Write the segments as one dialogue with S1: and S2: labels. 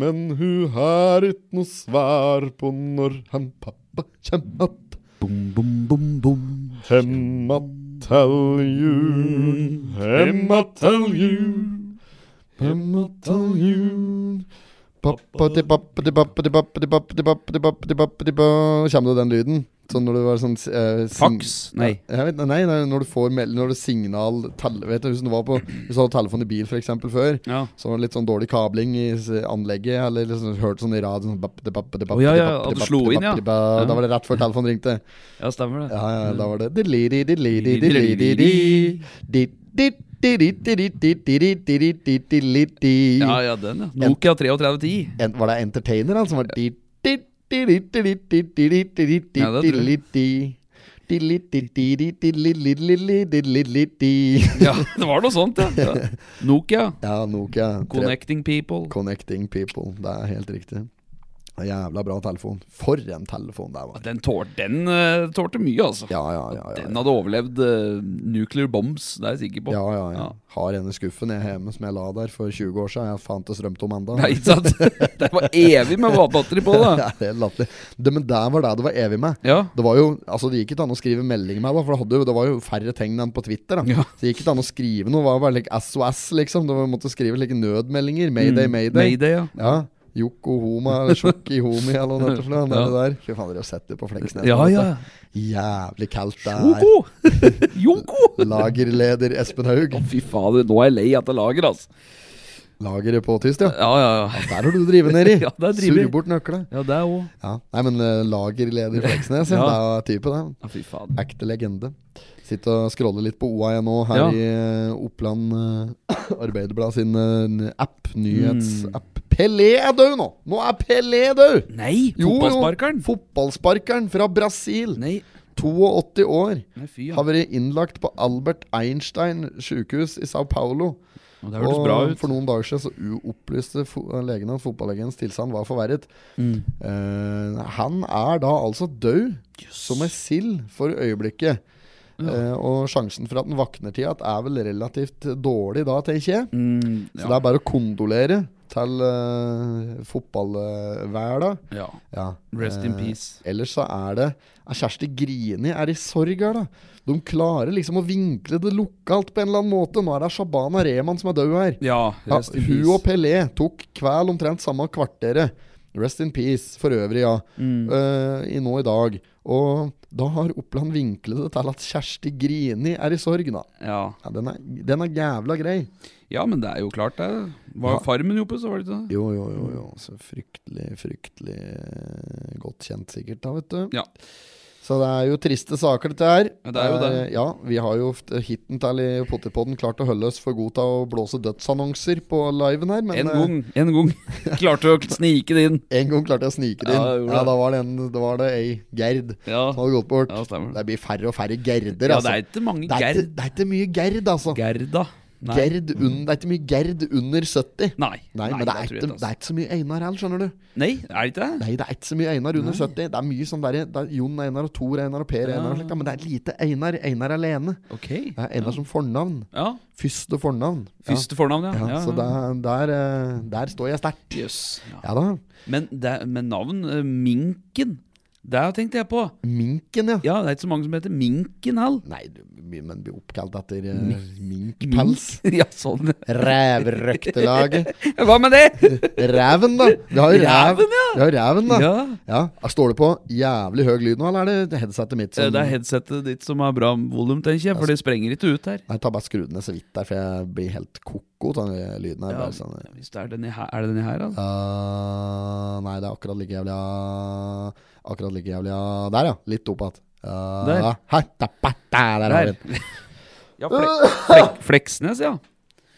S1: Men hun har ikke noe svar på når han pappa kjem att.
S2: Bom, bom, bom, bom.
S1: Hemma til jul, hemma til jul, hemma til jul. Pappa di pappa di pappa di pappa di pappa di pappa di pappa di pappa di ba- Kjem det den lyden? Sånn når du var sånn eh, sing-
S2: Fax? Nei.
S1: Ja, jeg vet, nei, nei, når du får meld, når du signal tell, Vet du, Hvis du var på Hvis du hadde telefon i bil for eksempel før,
S2: Ja.
S1: så var det litt sånn dårlig kabling i s- anlegget, eller liksom hørte sånn i radioen sånn, bap, de, bap, de, bap,
S2: Å, ja,
S1: de,
S2: ja,
S1: bap, de,
S2: at det
S1: bap,
S2: slo
S1: de,
S2: inn,
S1: bap,
S2: ja. Mm.
S1: de, ba- Da var det rett før telefonen ringte.
S2: ja, stemmer det.
S1: Ja, ja, da var det diliri, diliri, diliri, diliri, di- di- diri, diri, di- diri, diri, di- dili, di.
S2: Ja, ja, den, ja. Nokia 3310.
S1: En- Var det Entertainer, han, som var di- di- diri, diri, di- diri, diri, di-
S2: Ja, det tror
S1: dili,
S2: jeg.
S1: di. Dili, di- diri, dili, lili, li, dili, li, di.
S2: Ja, det var noe sånt, ja. ja. Nokia.
S1: Ja, Nokia. tre-
S2: Connecting people.
S1: Connecting people. Det er helt riktig. Jævla bra telefon. For en telefon det var.
S2: Den, tål, den eh, tålte mye, altså.
S1: Ja, ja, ja. ja,
S2: Den
S1: ja.
S2: hadde overlevd eh, nuclear bombs, det er jeg sikker på.
S1: Ja, ja, ja.
S2: Ja.
S1: Har en i skuffen jeg hjemme som jeg la der for 20 år siden. Jeg fant det strømte om enda.
S2: Nei, ikke sant? Det var evig med batteri på,
S1: Det
S2: da.
S1: er helt latterlig. Det- Men der var det det var evig med.
S2: Ja.
S1: Det var jo, altså det gikk ikke an å skrive melding med, da, for det, hadde jo, det var jo færre tegn enn på Twitter. Da.
S2: Ja.
S1: Så det gikk ikke an å skrive noe. Det var bare like SOS, liksom. Du måtte skrive like nødmeldinger. Mayday,
S2: Mm.
S1: mayday.
S2: Mayday, ja.
S1: Ja. Joko Homa, eller Sjokki Homi, eller noe sånt. for noe, det
S2: Ja.
S1: der. Fy faen, dere har sett det på Fleksnes.
S2: Ja,
S1: vet du.
S2: ja.
S1: Jævlig kaldt der.
S2: Joko! Joko!
S1: Lagerleder Espen Haug.
S2: Å, fy fader, nå er jeg lei etter lager, altså.
S1: Lageret på tyst, ja.
S2: Ja, ja, ja.
S1: Der har du drevet ned i.
S2: Ja, der driver
S1: Surr
S2: jeg.
S1: bort nøklene.
S2: Ja, det òg.
S1: Ja. Nei, men eh, lagerleder Fleksnes, ja.
S2: Ja.
S1: Det er type, det.
S2: Ja, fy fader.
S1: Ekte legende. Sitter og scroller litt på OA jeg nå, her
S2: Ja.
S1: i eh, Oppland eh, Arbeiderblad sin eh, n- app,
S2: Mm.
S1: nyhetsapp. Pelé er død nå! Nå er Pelé død!
S2: Nei,
S1: Jo, jo.
S2: fotballsparkeren!
S1: Fotballsparkeren fra Brasil.
S2: Nei,
S1: 82 år.
S2: nei, fy ja.
S1: Har vært innlagt på Albert Einstein sykehus i Sao Paulo.
S2: Og Det hørtes
S1: Og
S2: bra ut.
S1: for noen dager siden så u- opplyste fo- legen at fotballegens tilstand var forverret.
S2: Mm.
S1: Eh, han er da altså død som ei sild for øyeblikket. Eh, og sjansen for at den våkner til igjen, er vel relativt dårlig da, tenker jeg.
S2: Mm,
S1: Så det
S2: ja.
S1: er bare å kondolere til uh, fotballverda.
S2: ja.
S1: Ja.
S2: Rest in
S1: Eh,
S2: peace.
S1: Ellers så er det er Kjersti Grini er i sorg her, da. De klarer liksom å vinkle det lokalt på en eller annen måte. Nå er det Shabana Rehman som er død her.
S2: Ja,
S1: Ja,
S2: rest in
S1: hun
S2: peace.
S1: og Pelé tok kveld omtrent samme kvarteret. Rest in peace, for øvrig, ja.
S2: Mm.
S1: Eh, I nå i dag. Og da har Oppland vinklet det til at Kjersti Grini er i sorg, da.
S2: Ja.
S1: Ja, den, er, den er jævla grei.
S2: ja, men det er jo klart, det. Var
S1: Ja.
S2: jo Farmen oppe, så var det sånn. ikke det?
S1: Jo, jo, jo. jo. Så fryktelig, fryktelig eh, godt kjent, sikkert, da, vet du.
S2: Ja.
S1: Så det er jo triste saker, dette her.
S2: Ja, det er jo det.
S1: Eh, ja, vi har jo f- hitten til i Potipodden klart å holde oss for god til å blåse dødsannonser på liven her, men
S2: En
S1: eh,
S2: gang, en gang. Klarte å snike det inn.
S1: En gang klarte jeg å snike det
S2: Ja,
S1: inn.
S2: jeg gjorde
S1: Ja,
S2: det.
S1: da var det, en, da var det ei Gerd
S2: Ja,
S1: som hadde gått bort.
S2: ja stemmer.
S1: Det blir færre og færre Gerder,
S2: Ja,
S1: altså.
S2: det er ikke mange
S1: det, er
S2: Gerd.
S1: ikke, det er ikke mye Gerd, altså.
S2: Gerda. Nei.
S1: Gerd un, det er ikke mye Gerd under 70.
S2: Nei,
S1: Nei, men det er,
S2: tror
S1: ikke,
S2: jeg ikke,
S1: det
S2: altså.
S1: er ikke så mye Einar heller, skjønner du.
S2: Nei, er det ikke det?
S1: Nei, det er ikke så mye Einar under 70. Det er mye sånn der, det er Jon Einar og Tor Einar og Per
S2: Ja.
S1: Einar og slikt, ja, men det er lite Einar. Einar alene.
S2: Ok.
S1: Det er Einar som fornavn.
S2: Ja.
S1: Første fornavn. Ja.
S2: Første fornavn,
S1: Ja,
S2: ja. ja.
S1: Så der, der, eh, der står jeg sterkt.
S2: Jøss. Ja.
S1: Ja da.
S2: Men, det- men navn eh, Minken, det tenkte jeg på.
S1: Minken, ja.
S2: Ja, det er ikke så mange som heter Minken heller.
S1: Nei, du, men blir oppkalt etter uh, minkpels.
S2: Ja, sånn.
S1: Rævrøktelaget.
S2: Hva med det?
S1: Reven, da! Vi har jo rev.
S2: Reven, ja.
S1: Vi har reven, da. Ja.
S2: Ja. eh,
S1: Står det på jævlig høy lyd nå, eller er det headsetet mitt
S2: Eh,
S1: som
S2: Det er headsetet ditt som har bra volum, tenker jeg, for
S1: Altså.
S2: det sprenger ikke ut her.
S1: Jeg tar bare skrudd ned så vidt der, for jeg blir helt koko av den lyden her.
S2: Ja.
S1: Bare sånn
S2: Hvis det er denne her, er det denne her, altså? da?
S1: Ah, Nei, det er akkurat like jævlig ah, Akkurat like jævlig ah. Der, ja. Litt opp igjen. Ah,
S2: Der.
S1: ha, da, ba, da, Der har vi den.
S2: Ja, Fle Flek Fleksnes, ja.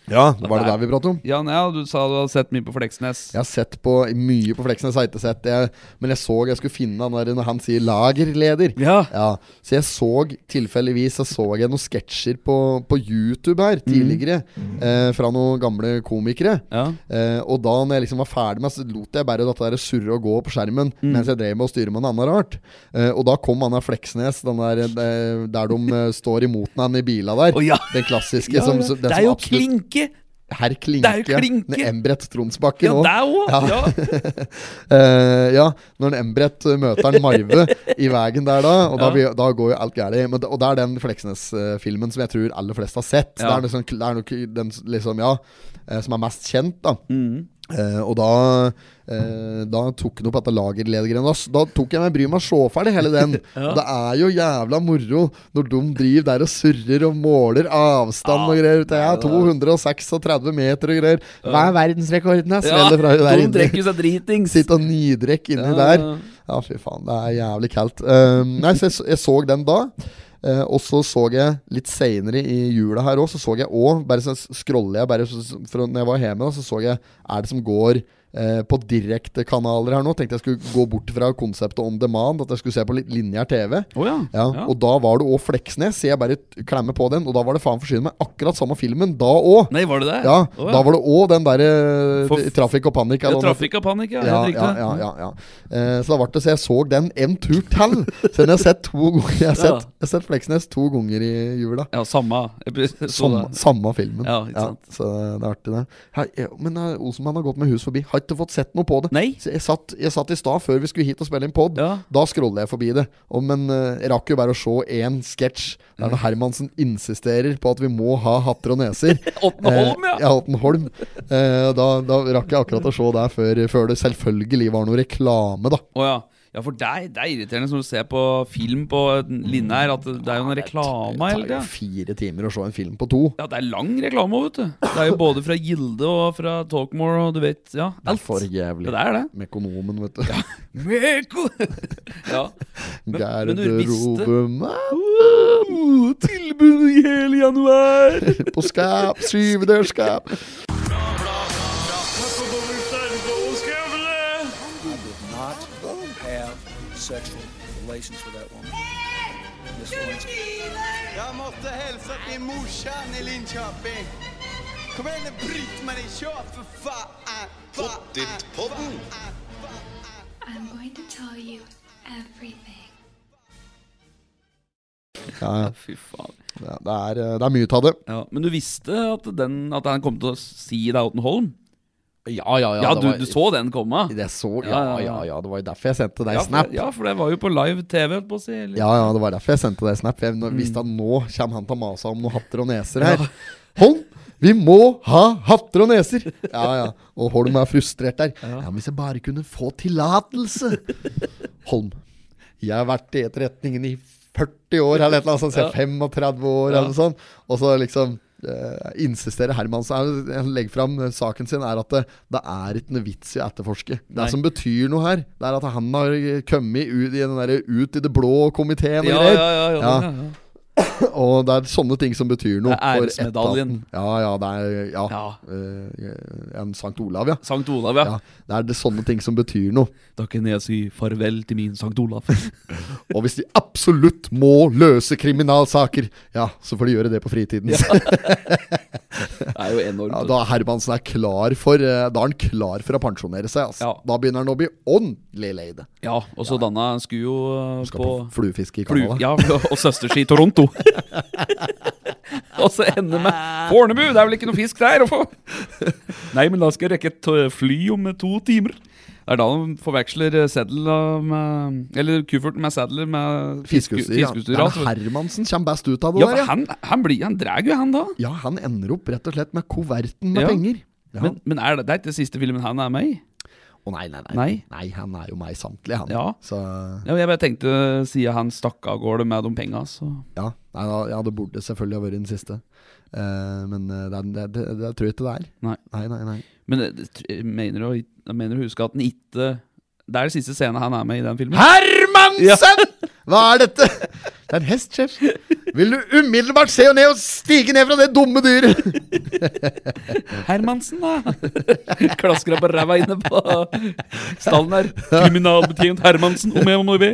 S1: Ja, var det der vi pratet om?
S2: Ja, nei, ja, du sa du hadde sett mye på Fleksnes.
S1: Jeg har sett på mye på Fleksnes, har jeg ikke sett det. Men jeg så jeg skulle finne han der når han sier 'lagerleder'.
S2: Ja.
S1: Ja, Så jeg så tilfeldigvis Så så jeg noen sketsjer på, på YouTube her tidligere. Eh, fra noen gamle komikere.
S2: Ja.
S1: Eh, og da når jeg liksom var ferdig med Så lot jeg bare dette der surre og gå på skjermen
S2: Mm.
S1: mens jeg drev med å styre med en annen rart. Eh, og da kom han der Fleksnes, den der, eh, der de eh, står imot han i bila der.
S2: Å, ja.
S1: Den klassiske
S2: Ja,
S1: som
S2: ja.
S1: som- den
S2: Det er
S1: som
S2: jo
S1: absolutt-
S2: klinke!
S1: Herr Klinke.
S2: Det er jo Klinke!
S1: Når Embret Tronsbakken
S2: Ja,
S1: òg.
S2: deg òg! Ja.
S1: Eh, ja, når en Embret eh, møter en Maive i veien der, da. Og da,
S2: Ja.
S1: blir, da går jo alt galt. Men det- Og det er den Fleksnes-filmen som jeg tror aller flest har sett. Det
S2: Ja.
S1: er, liksom, det er nok den s- liksom, ja, eh, som er mest kjent, da.
S2: Mm.
S1: Eh, og da, eh, da tok han opp dette lagerledergreiene. Da, s- da tok jeg meg bryet med å se ferdig hele den.
S2: Ja.
S1: Og Det er jo jævla moro når de driver der og surrer og måler avstand og
S2: Ja,
S1: greier. Det er
S2: det-
S1: 236 meter og greier. Hva er verdensrekorden? Jeg
S2: Ja,
S1: smeller fra hun der
S2: de
S1: inne.
S2: drikker seg dritings.
S1: Sitt og nydrekk inni der. Ja, fy faen, det er jævlig kaldt. Ehm, nei, så jeg, så- jeg så den da. eh, og så så jeg litt seinere i jula her òg, så så jeg òg Bare så scroller jeg bare så, så- fra når jeg var hjemme, da, så så jeg Er det som går eh, på direktekanaler her nå? Tenkte jeg skulle gå bort fra konseptet on demand, at jeg skulle se på litt lineær TV.
S2: Å ja.
S1: Ja,
S2: Ja.
S1: Og da var det òg Fleksnes, så jeg bare t- klemmer på den. Og da var det faen forsyne med akkurat samme filmen, da òg!
S2: Nei, var det det?
S1: Ja,
S2: Å,
S1: Da var det òg den derre
S2: For-
S1: Trafikk og panikk.
S2: ja,
S1: eller noe-
S2: Trafikk av panikk, ja.
S1: ja,
S2: Helt
S1: ja,
S2: riktig.
S1: ja, ja, ja. Eh, så da ble det så jeg så den en tur til. Så den har jeg sett to ganger. Jeg har sett, jeg har sett Fleksnes to ganger i jula.
S2: Ja, samme episode.
S1: Samme, samme filmen.
S2: Ja, ikke sant.
S1: så det er artig, det. Her, ja, men eh, Olsenmann har gått med hus forbi. Har ikke fått sett noe på det.
S2: Nei?
S1: Så jeg, satt, jeg satt i stad, før vi skulle hit og spille inn pod.
S2: Ja.
S1: Da scroller jeg forbi det. Og, men eh, jeg rakk jo bare å se én sketsj der
S2: Mm.
S1: når Hermansen insisterer på at vi må ha hatter og neser.
S2: Åttenholm,
S1: Eh,
S2: ja.
S1: ja, Ottenholm. Eh, da, da rakk jeg akkurat å se det før, før det selvfølgelig var noe reklame, da.
S2: Å ja. Ja, for deg, det er irriterende som du ser på film på linjer, at det er jo en reklame hele
S1: Det tar jo
S2: tida.
S1: fire timer å se en film på to.
S2: Ja, det er lang reklame òg, vet du. Det er jo både fra Gilde og fra Talkmore og du vet Ja,
S1: Det er
S2: alt.
S1: for
S2: Ja,
S1: jævlig.
S2: det er det.
S1: Mekonomen, vet du.
S2: Meko! ja. Men- men du visste-
S1: Garderobemat
S2: Oh, tilbud i hele januar!
S1: på skap, syvdørsskap.
S3: not have sexual relations with that woman. Miss Lewinsky.
S4: Jeg måtte hilse til morsan i Linköping. Kom igjen, Britt-Marie, kjør, for faen! Pottit-podden.
S5: I'm going to tell you everything.
S1: Ja, ja.
S2: Fy faen.
S1: Ja, det, er, eh, det er mye av det.
S2: Ja, men du visste at, den, at han kom til å si deg Otten Holm?
S1: Ja, ja,
S2: Ja, du, du så den komme?
S1: Det så, ja,
S2: Ja, ja,
S1: ja,
S2: ja.
S1: ja. Det var jo derfor jeg sendte deg
S2: ja,
S1: snap.
S2: for, ja, for det var jo på live TV, holdt på å si. Eller?
S1: Ja, ja, det var derfor jeg sendte deg snap. for Jeg nå- visste at nå kommer han til å mase om noen hatter og neser her. Holm, vi må ha hatter og neser! Ja, ja. Og Holm er frustrert der. Ja, men Hvis jeg bare kunne få tillatelse! Holm, jeg har vært i etterretningen i 40 år, eller et eller annet sånt. så jeg er 35 år, eller noe sånt. Og så liksom eh, insisterer Hermansen er- Han legger fram eh, saken sin, er at det, det er ikke noe vits i å etterforske. Det
S2: Nei.
S1: som betyr noe her, det er at han har eh, kommet ut i, den der, ut i det blå komiteen og
S2: ja, ja,
S1: greier.
S2: ja, ja,
S1: Ja.
S2: den, ja.
S1: Og det er sånne ting som betyr noe.
S2: Det er
S1: for
S2: æresmedaljen.
S1: etaten. Ja, ja, det er Ja.
S2: Ja.
S1: Eh, en Sankt Olav, ja.
S2: Sankt Olav, ja.
S1: ja. Det er det sånne ting som betyr noe.
S2: Da kunne jeg si farvel til min Sankt Olav.
S1: Og hvis de absolutt må løse kriminalsaker, ja, så får de gjøre det på fritiden.
S2: Det er jo enormt.
S1: Ja, da Hermansen er klar for eh, Da er han klar for å pensjonere seg. Altså.
S2: Ja.
S1: Da begynner han å bli ordentlig lei det.
S2: Ja, og så danna han skulle jo uh,
S1: Skal på,
S2: på
S1: fluefiske i
S2: Flu,
S1: Canada.
S2: ja, og søsterski i Toronto. og så ender med Fornebu, det er vel ikke noe fisk der å få? Nei, men da skal jeg rekke et eh, fly om eh, to timer. Det er da de forveksler eh, seddel av med Eller kufferten med seddel med fisku-
S1: Fiskeutstyr. Ja.
S2: fiskeutstyr.
S1: Det er
S2: altså.
S1: Hermansen kommer best ut av det
S2: Ja,
S1: der.
S2: for
S1: Ja.
S2: han, han, blir, han drar jo, han da.
S1: ja, han ender opp rett og slett med koverten med
S2: Ja.
S1: penger. Ja.
S2: Men, men er det, det er ikke den siste filmen han er med i?
S1: Å nei, nei, nei, nei.
S2: Nei.
S1: han er jo meg samtlig, han.
S2: Ja.
S1: Så
S2: Ja, men jeg bare tenkte, eh, siden han stakk av gårde med de penga, så
S1: ja. Nei, da, ja, det burde selvfølgelig ha vært den siste. Eh, men eh, det, er- det, det, det tror jeg ikke det er.
S2: Nei.
S1: Nei, nei, nei.
S2: Men eh, det- jeg mener du å- jeg mener å huske at han ikke Det er den siste scenen han er med i den filmen.
S1: Hermansen! Hva er dette? Det er en hest, sjef. Vil du umiddelbart se ned og stige ned fra det dumme dyret?
S2: Hermansen, da! Klasker deg på ræva inne på stallen her. Kriminalbetjent Hermansen, om jeg må be.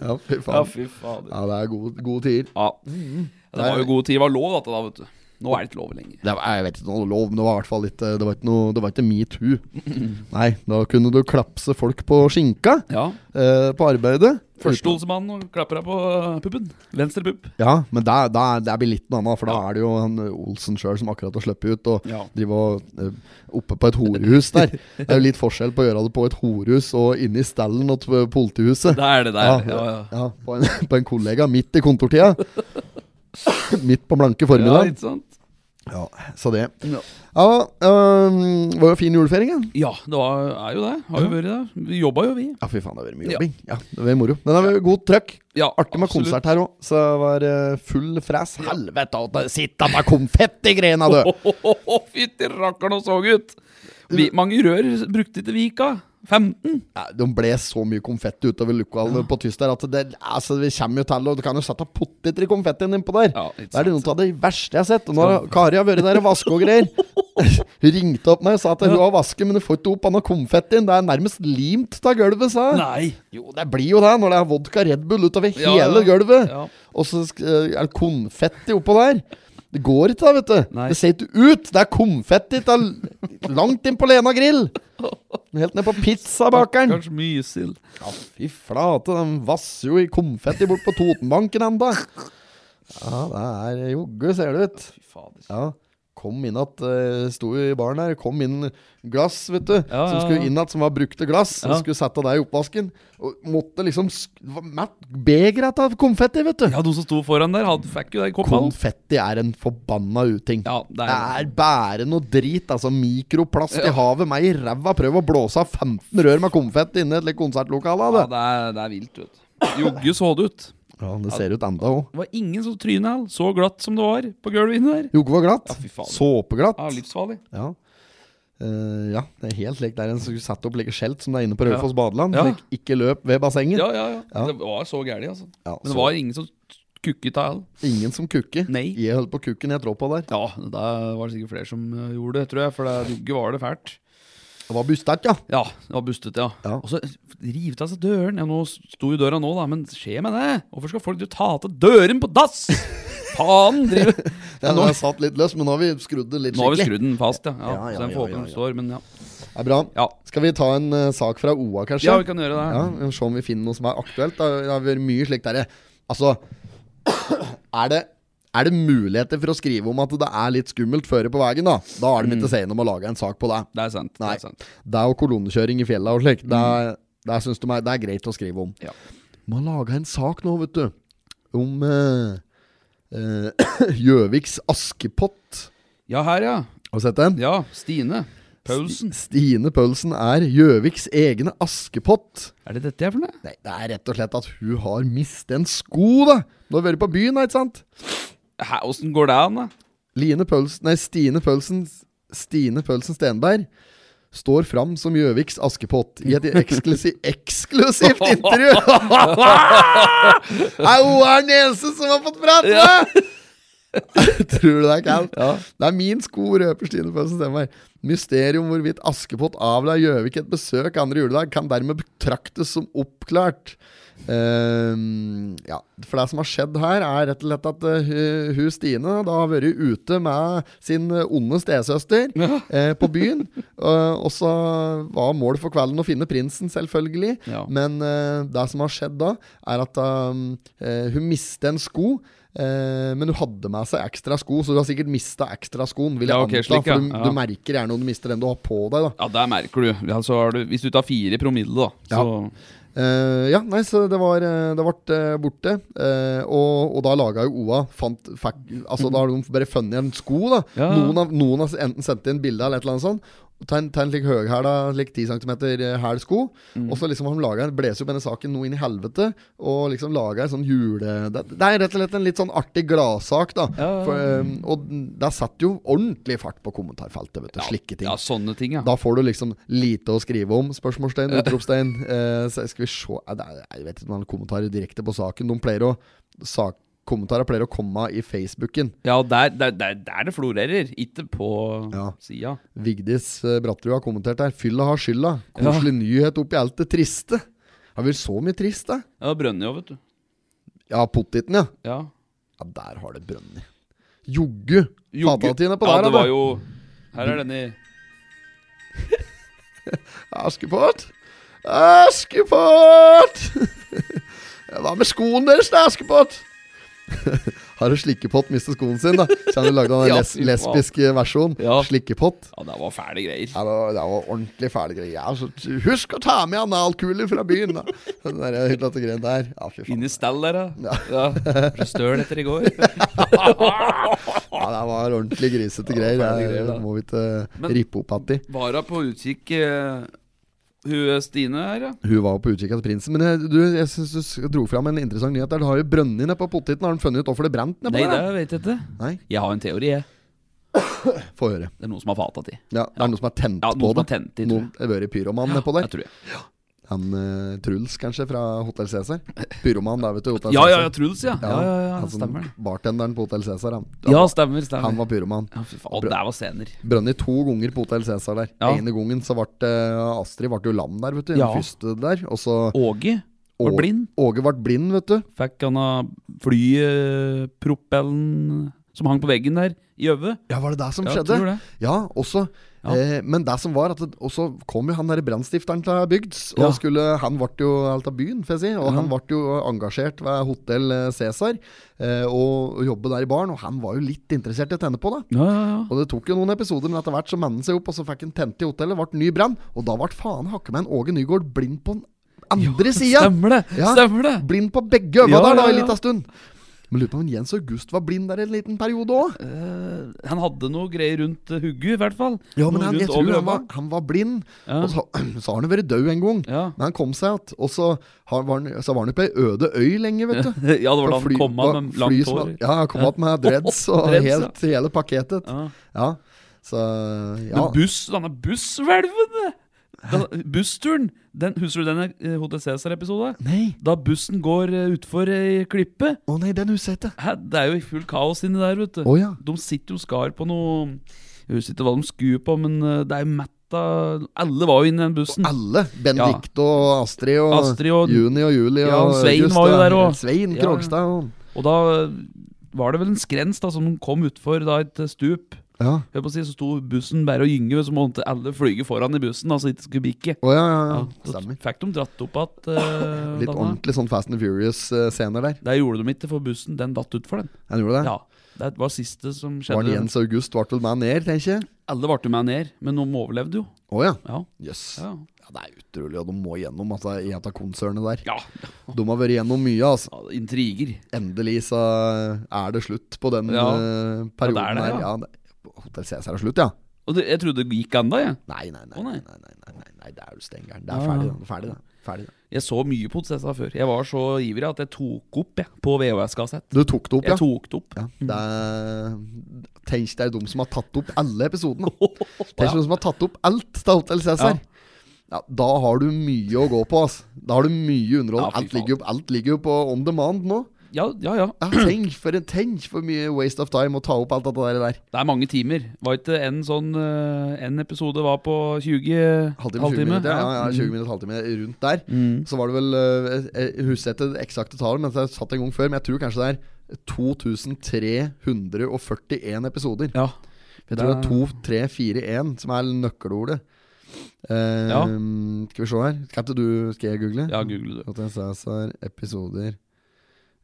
S1: Ja, fy
S2: Ja,
S1: faen.
S2: fy fader.
S1: Ja, det er gode, gode tider.
S2: Ja. Det var jo god tid. Det var lov, dette da, vet du. Nå er det ikke lov lenger.
S1: Det var, jeg vet ikke noe lov, men det var i hvert fall litt eh, Det var ikke, noe, det var ikke metoo. Nei, da kunne du klapse folk på skinka
S2: Ja.
S1: eh, på arbeidet.
S2: Førsteholdsmann og klapper deg på puppen. Venstre pupp.
S1: Ja, men der, der, der blir litt noe annet, for da er det jo han Olsen sjøl som akkurat har sluppet ut, og
S2: Ja.
S1: driver og eh, oppe på et horehus der. Det er jo litt forskjell på å gjøre det på et horehus og inne i stallen og t- politihuset.
S2: Det er det der.
S1: Ja,
S2: Ja, ja.
S1: ja, på, en, på en kollega midt i kontortida. midt på blanke
S2: Ja,
S1: formiddag.
S2: ikke sant?
S1: Ja, så det.
S2: Ja.
S1: Ja, øhm, det var jo fin julefeiring, ja.
S2: Ja, det var, er jo det. Har jo vært det. Vi jobba jo, vi.
S1: Ja, fy faen, det har vært mye jobbing. Ja, det har vært moro. Men det har vært god trøkk.
S2: Ja,
S1: Artig med konsert her òg, så det var eh, full fres. Helvete, at det sitter med konfett i grena, du!
S2: Å, fytti rakkeren og så ut! Vi, mange rør brukte til Vika. 15.
S1: Nei, De ble så mye konfetti utover lokalene på tysk der at det, altså, vi kommer jo til og Du kan jo sette poteter i konfettien innpå der.
S2: Ja,
S1: det
S2: ikke
S1: er noe av det verste jeg har sett. Og nå har Kari har vært der og vaska og greier. Hun ringte opp meg og sa at hun har vasket, men hun får ikke opp annet konfettien. Det er nærmest limt av gulvet, sa hun.
S2: Nei!
S1: Jo, det blir jo det når det er vodka Red Bull utover
S2: Ja,
S1: hele
S2: ja,
S1: gulvet.
S2: ja.
S1: Og så sk- eh, er det konfetti oppå der. Det går ikke, da, vet du.
S2: Nei.
S1: Det ser ikke ut. Det er konfetti til langt inn på Lena grill. Helt ned på pizzabakeren.
S2: Kanskje mysild.
S1: Ja, fy flate, den vasser jo i konfetti bort på Totenbanken enda. Ja, det er jogge, ser det ut.
S2: Fy fader.
S1: Ja, kom inn at, eh, sto jo i baren her, kom inn glass, vet du,
S2: Ja,
S1: som
S2: ja,
S1: skulle
S2: ja.
S1: inn at, som var brukte glass, som
S2: Ja.
S1: skulle sette deg i oppvasken, og måtte liksom, sk- det var matt begret av konfetti, vet du.
S2: Ja, de som sto foran der, hadde, fikk jo det i koppa. da.
S1: Konfetti er en forbanna uting.
S2: Ja, det
S1: Det
S2: er
S1: er bare noe drit, altså. Mikroplast i havet, meg i ræva. Prøv å blåse av 15 rør med konfetti inne i et litt konsertlokale.
S2: Ja,
S1: det.
S2: det er, det er vilt, vet du. Jogge så det ut.
S1: Ja, det ser ut enda òg.
S2: Det var ingen som tryna heller. Så glatt som det var på gulvet inni der.
S1: Jogge var glatt.
S2: Ja, fy faen.
S1: Såpeglatt.
S2: Ja, livsfarlig.
S1: Ja. Eh, ja, det er helt likt. Det er en som skulle satt opp like skjelt som det er inne på Raufoss badeland.
S2: Ja.
S1: Slik, ikke løp ved bassenget.
S2: Ja, ja, ja,
S1: Ja.
S2: Det var så gærent, altså.
S1: Ja,
S2: Men
S1: så-
S2: det var ingen som kukket av heller.
S1: Ingen som kukker.
S2: Nei.
S1: Jeg holdt på kukken jeg trå på der.
S2: Ja, da var det sikkert flere som eh, gjorde det, tror jeg. For det jogge var det fælt.
S1: Det var bustet, ja.
S2: Ja, det var bustete, ja.
S1: Ja.
S2: Og så rivet av seg døren. Ja, nå sto jo døra nå, da, men skje med det? Hvorfor skal folk drive og ta til døren på dass?! Faen! Driver.
S1: ja
S2: nå-
S1: nå... Jeg satt litt løs, men nå har vi skrudd det litt
S2: Nå har vi
S1: skikkelig.
S2: skrudd den fast, ja. ja,
S1: Ja, ja,
S2: så den
S1: ja,
S2: får
S1: ja,
S2: håpe den
S1: ja.
S2: står, men ja.
S1: Det er bra.
S2: Ja.
S1: Skal vi ta en eh, sak fra OA, kanskje?
S2: ja, vi kan gjøre det.
S1: Ja, vi må Se om vi finner noe som er aktuelt. Det har- det har vært mye slikt derre Altså, er det er det muligheter for å skrive om at det er litt skummelt føre på veien? Da Da er de
S2: Mm.
S1: ikke sen om å lage en sak på det.
S2: Det er sant.
S1: Nei.
S2: Det er sant.
S1: Det er jo kolonnekjøring i fjellet og slikt. Det, er- det, er- synes de er- det er greit å skrive om.
S2: Ja.
S1: De har laga en sak nå, vet du, om eh, eh, Gjøviks Askepott.
S2: ja, her, ja.
S1: Har du sett den?
S2: Ja, Stine Paulsen.
S1: Stine Pølsen er Gjøviks egne Askepott.
S2: Er det dette jeg er for noe?
S1: Nei, det er rett og slett at hun har mistet en sko, da. Du har vært på byen, da, ikke sant?
S2: Hæ, Åssen går det an, da?
S1: Line Pølsen, nei, Stine Pølsen Stine Pølsen Stenberg står fram som Gjøviks Askepott i et eksklusi eksklusivt intervju! Nei, hun er den eneste som har fått prate med! Tror du det er kaldt? Det er min sko, røper Stine Pølsen Stenberg. Mysterium hvorvidt Askepott avla Gjøvik et besøk andre juledag, kan dermed betraktes som oppklart. Ehm, ja, for det som har skjedd her, er rett og slett at eh, hu- hun Stine da har vært ute med sin eh, onde stesøster eh, på byen. Eh, og så var målet for kvelden å finne prinsen, selvfølgelig.
S2: Ja.
S1: Men eh, det som har skjedd da, er at um, eh, hun mistet en sko. eh, men hun hadde med seg ekstra sko, så hun har sikkert mista ekstra skoen. Vil jeg
S2: Ja, ok,
S1: anta,
S2: slik, ja.
S1: For du,
S2: Ja.
S1: du merker gjerne om du mister den du har på deg. da
S2: Ja, der merker du. Ja, så har du hvis du tar fire promille, da,
S1: Ja.
S2: så
S1: Eh, ja, nei, så det var eh, Det ble eh, borte. Eh, og, og da laga jo OA fant, fikk, Altså Da har de bare funnet en sko. da
S2: Ja.
S1: Noen, har, noen har enten sendt inn bilde eller et eller annet sånt. Ta en, ta en slik høyhæla, slik 10 cm hæl sko.
S2: Mm.
S1: Og så liksom har de laget, blåser opp denne saken noe inn i helvete. Og liksom laga en sånn jule... Det, det er rett og slett en litt sånn artig gladsak, da.
S2: Ja.
S1: For, eh, og der satt jo ordentlig fart på kommentarfeltet, vet du. Slike ting.
S2: Ja, sånne ting, ja.
S1: Da får du liksom lite å skrive om? Spørsmålstegn, utropstegn. Eh, så skal vi se Eh, det er- Jeg vet ikke om det er kommentarer direkte på saken. De pleier å sak, Kommentarer pleier å komme i Facebooken.
S2: Ja, der, der, der, der det florerer. Ikke på
S1: Ja.
S2: sida.
S1: Vigdis eh, Brattrud har kommentert her. 'Fylla har skylda'. Koselig nyhet oppi alt det triste. Har vi så mye trist, da?
S2: Ja, Brønnøy òg, vet du.
S1: Ja, pottiten, ja.
S2: Ja.
S1: Ja, Der har det brønnet. Joggu.
S2: Jogge-
S1: Fatatine på
S2: ja,
S1: der,
S2: det
S1: da.
S2: var jo Her er den i
S1: Askepott! Askepott! Hva med skoen deres, da, Askepott? Har du slikkepott mistet skoen sin, da? Så han lagde den
S2: Ja,
S1: les
S2: fy faen.
S1: lesbiske versjonen.
S2: Ja.
S1: Slikkepott.
S2: Ja, det var fæle greier.
S1: Ja, det, var, det var ordentlig fæle greier. Ja, så t- husk å ta med analkuler fra byen, da. Den der eh, hyllete greia der. Ja, fy faen.
S2: Inni stell der, da. Ja. Ble Støl etter i går.
S1: Ja, det var ordentlig grisete greier.
S2: fæle
S1: Det
S2: greier, da.
S1: må vi ikke eh,
S2: Men-
S1: rippe opp att i.
S2: Vara på utkikk eh, Hun eh, Stine her, ja.
S1: Hun var på utkikk etter prinsen. Men jeg, du, jeg syns du s- dro fram en interessant nyhet. der Du har jo brønner nede på poteten. Har han funnet ut hvorfor det brant nede
S2: Nei,
S1: på
S2: det
S1: der?
S2: vet jeg ikke.
S1: Nei,
S2: Jeg har en teori, jeg.
S1: få høre.
S2: Det er noen som har fata til.
S1: Ja, det er noe som er tent
S2: Ja,
S1: på
S2: noen som
S1: det.
S2: har tent i, tror
S1: Noen har vært pyroman nedpå der.
S2: Jeg tror jeg.
S1: Han eh, Truls, kanskje, fra Hotell Cæsar? Pyroman der, vet du. Hotel
S2: Ja, ja,
S1: Cæsar.
S2: ja, Truls, ja. Ja, ja, ja,
S1: han som-
S2: stemmer det.
S1: Bartenderen på Hotell Cæsar, altså, han.
S2: Ja, stemmer, stemmer.
S1: Han var pyroman.
S2: ja, fy faen, det var scener.
S1: Brønner to ganger på Hotell Cæsar der.
S2: Ja.
S1: Ene gangen så ble eh, Astrid ble jo lam der, vet du.
S2: Ja.
S1: Den første der. Og så
S2: Åge var
S1: Å-
S2: blind.
S1: Åge ble blind, vet du.
S2: Fikk han av flypropellen som hang på veggen der, i øyet.
S1: Ja, var det det som
S2: Ja,
S1: skjedde?
S2: tror det.
S1: Ja, også.
S2: Ja.
S1: Eh, men det som var, at det, og så kom jo han derre brannstifteren til bygds. Og
S2: Ja.
S1: skulle, han ble jo alt av byen, får jeg si. Og han ble jo engasjert ved Hotell Cæsar eh, og, og jobbe der i baren. Og han var jo litt interessert i å tenne på det.
S2: Ja, ja, ja.
S1: Og det tok jo noen episoder, men etter hvert så mannen seg opp, og så fikk han tent i hotellet, ble ny brann, og da ble faen hakke meg en Åge Nygaard blind på den andre sida!
S2: Stemmer det!
S1: Ja.
S2: Stemmer det!
S1: Blind på begge øynene
S2: Ja,
S1: der, da,
S2: ja,
S1: en
S2: ja.
S1: liten stund. Men lurer på om Jens August var blind der en liten periode òg.
S2: Eh, han hadde noe greier rundt uh, hugget, i hvert fall.
S1: Ja, men
S2: Noe
S1: han, jeg
S2: rundt
S1: tror
S2: over
S1: han var,
S2: øynene.
S1: han var blind,
S2: Ja.
S1: og så, så har han jo vært død en gang.
S2: Ja.
S1: Men han kom seg igjen, og så, har- var han- så var han jo på ei øde øy lenge, vet du.
S2: ja, det var da
S1: Fly-
S2: han kom av med
S1: fly
S2: langt
S1: som-
S2: hår.
S1: Ja, han kom igjen med dreads og
S2: Dreads, ja.
S1: helt, hele pakketet.
S2: Ja.
S1: Ja, så ja.
S2: Men buss, denne busshvelven! Da- Bussturen! Den, husker du denne eh, Hotel Cæsar-episoden?
S1: Nei,
S2: Da bussen går eh, utfor ei klippe.
S1: å nei, den husker jeg ikke.
S2: Hæ, det er jo fullt kaos inni der, vet du.
S1: Å ja.
S2: De sitter jo skar på noe Jeg husker ikke hva de skuer på, men eh, det er jo mett av Alle var jo inne i den bussen.
S1: Alle. Benedicte og Astrid og,
S2: Astrid og-
S1: Juni og Julie
S2: Ja,
S1: og
S2: Svein
S1: August
S2: var jo
S1: og-
S2: der også.
S1: Svein
S2: Ja.
S1: Krogstad og
S2: Og da eh, var det vel en skrens da som kom utfor da et stup.
S1: Ja.
S2: Hør på å si, Så sto bussen bare og gynge, så måtte alle flyge foran i bussen. Altså ikke skulle bikke.
S1: Å ja, ja, ja.
S2: da
S1: Stemmer.
S2: fikk de dratt opp eh, igjen.
S1: Litt ordentlig sånn Fast and Furious-scener der.
S2: Det gjorde de ikke, for bussen den datt utfor, den.
S1: Han gjorde det?
S2: Ja, Det var siste som
S1: Var det
S2: skjedde.
S1: Jens August ble vel med ned, tenker jeg?
S2: Alle ble med ned, men noen overlevde jo.
S1: Å ja.
S2: Ja,
S1: Jøss.
S2: ja.
S1: Ja, det er utrolig hva de må igjennom altså, i et av konsernene der.
S2: ja.
S1: De har vært igjennom mye. altså
S2: ja intriger.
S1: Endelig så er det slutt på den
S2: Ja.
S1: eh, perioden
S2: Ja, det er det,
S1: her.
S2: ja.
S1: Ja, det- Hotell Cæsar er slutt, ja?
S2: Og det, jeg trodde det gikk ennå, jeg.
S1: Nei, nei, nei.
S2: Å, nei. Ah.
S1: nei, nei, nei, nei, nei Det er du stengeren. Det
S2: Ja,
S1: er
S2: ja.
S1: ferdig, da. Ferdig, da. Ferdig, da.
S2: Jeg så mye på Potsessa før. Jeg var så ivrig at jeg tok opp jeg, på VHS-kassett.
S1: Du tok det opp, ja?
S2: Jeg tok det opp. Mm.
S1: Ja, det er Tenk deg de som har tatt opp alle episodene. Tenk deg de som har tatt opp alt til Hotell Cæsar. Ja. da har du mye å gå på. ass Da har du mye
S2: Ja,
S1: underhold.
S2: fy
S1: alt, ligger jo- alt ligger jo på on demand nå.
S2: Ja, ja, ja.
S1: Ja, tenk, for en, tenk for mye waste of time å ta opp alt dette der. der.
S2: Det er mange timer. Var ikke en sånn eh, En episode var på 20
S1: Halvtime, 20 minutter. Ja, ja,
S2: Mm.
S1: 20 minutter, halvtime rundt der. Så var det vel eh, Jeg husker ikke det eksakte tallet, men jeg satt en gang før. Men jeg tror kanskje det er 2341 episoder.
S2: Ja.
S1: Jeg tror det er
S2: Det-
S1: 2, 3, 4, 1 som er nøkkelordet. Eh,
S2: Ja.
S1: Skal vi se her. Skal ikke du Skal jeg google?
S2: Ja, google du.
S1: At jeg sa Cæsar, episoder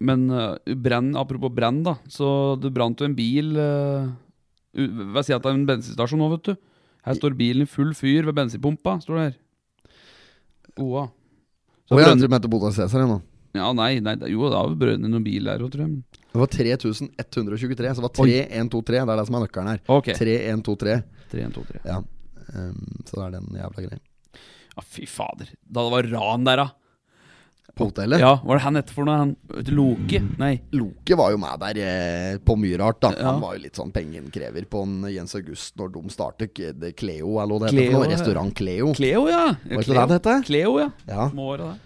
S2: Men eh, brenn, apropos brenn, da. Så det brant jo en bil eh, u- Hva sier jeg at det er en bensinstasjon nå, vet du. Her står bilen i full fyr ved bensinpumpa, står det her. Oa.
S1: Å
S2: Så
S1: ja, jeg
S2: brønner-
S1: tror du mente Botan Cæsar jeg, nå.
S2: ja, nei, nei, det- jo, det har jo brønnet noen bil der òg, tror jeg. men-
S1: Det var 3123. Så det var
S2: Oi.
S1: 3123. Det er det som er nøkkelen her.
S2: Ok.
S1: 3123.
S2: 3, 1, 2, 3.
S1: Ja. Ehm, så det er den jævla greia.
S2: Ja, fy fader. Da det var ran der, da.
S1: På hotellet?
S2: Ja, Hva er det han etter for noe? Han, Loke? Nei.
S1: Loke var jo med der eh, på mye rart. da
S2: Ja.
S1: Han var jo litt sånn pengeinnkrever på en Jens August når de startet K- det Cleo, eller hva det heter.
S2: Cleo,
S1: for noe,
S2: ja.
S1: Restaurant Cleo.
S2: Cleo, ja.
S1: Var ikke det det heter?
S2: Cleo, ja.
S1: Ja.
S2: Små åra der.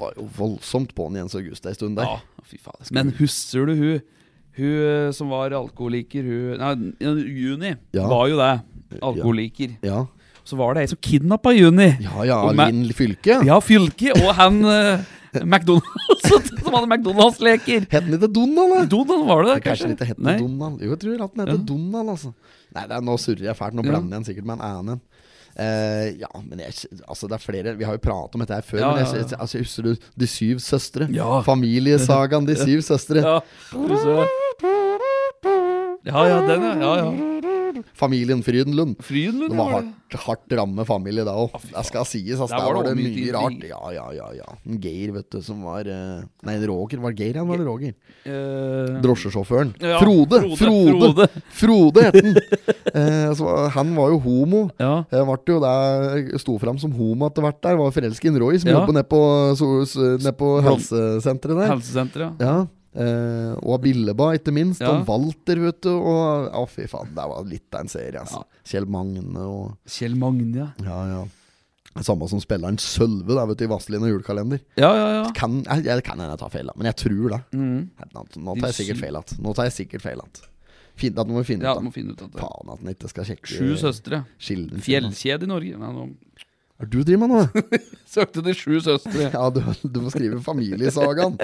S1: Var jo voldsomt på en Jens August en stund der.
S2: Ja, fy faen. Men husker du hun Hun eh, som var alkoholiker Hun Nei, Juni
S1: Ja.
S2: var jo det. Alkoholiker.
S1: Ja,
S2: Så var det ei som kidnappa Juni.
S1: ja, ja
S2: Og meg-
S1: Linn Fylke.
S2: Ja, Fylke og han eh, McDonald's som hadde McDonald's-leker.
S1: Het den ikke Donald, da?
S2: Donald var det,
S1: Kanskje den ikke het
S2: Nei.
S1: Donald? Jo, jeg tror at den heter
S2: Ja.
S1: Donald, altså. Nei, det er, nå surrer jeg fælt. Nå
S2: Ja.
S1: blander jeg den sikkert med en annen. Eh, ja, men jeg, altså det er flere Vi har jo pratet om dette her før.
S2: Ja,
S1: men jeg,
S2: ja, ja.
S1: jeg, altså, jeg husker du De syv søstre?
S2: Ja.
S1: Familiesagaen De syv søstre.
S2: Ja, du så. ja, ja, den, ja. ja, ja.
S1: Familien Frydenlund.
S2: Frydenlund,
S1: Det
S2: ja,
S1: var
S2: var det?
S1: hardt, hardt ramme familie da òg. Det skal sies. Altså, der var det
S2: mye
S1: mye
S2: ting.
S1: rart. Ja, ja, ja. ja En Geir, vet du, som var eh, Nei, en Roger. Var det Geir han var det Roger?
S2: Eh,
S1: Drosjesjåføren.
S2: Ja,
S1: Frode!
S2: Frode,
S1: Frode,
S2: Frode.
S1: Frode het han. Eh, så var- han var jo homo.
S2: Ja.
S1: Eh, vart jo der, sto fram som homo etter hvert der. Var forelsket i en Roy som
S2: Ja.
S1: jobber nede på, so- so- ned på helsesenteret der.
S2: Helsesenter, ja.
S1: Ja eh, og Billeba, ikke minst.
S2: Ja.
S1: Og Walter, vet du. Og, å, fy faen, det var litt av en serie. Altså. Kjell Magne og
S2: Kjell Magne, ja.
S1: Ja, ja. Det Samme som spilleren Sølve da, vet du, i Vazelina julekalender.
S2: Ja, ja, ja. Mm.
S1: Kan, jeg, jeg kan hende jeg tar feil, da, men jeg tror det. Nå, nå tar jeg
S2: De
S1: sikkert
S2: syv-
S1: feil att. Nå tar jeg sikkert feil att. Fint at du må vi finne
S2: Ja,
S1: ut eh, da.
S2: må finne ut at det
S1: Faen at den ikke skal sjekke
S2: Sju søstre.
S1: skilden sin, altså.
S2: Fjellkjede i Norge. Nei, nå
S1: Hva er det du driver med nå?
S2: søkte de sju søstre.
S1: Ja, du, du må skrive familiesagaen.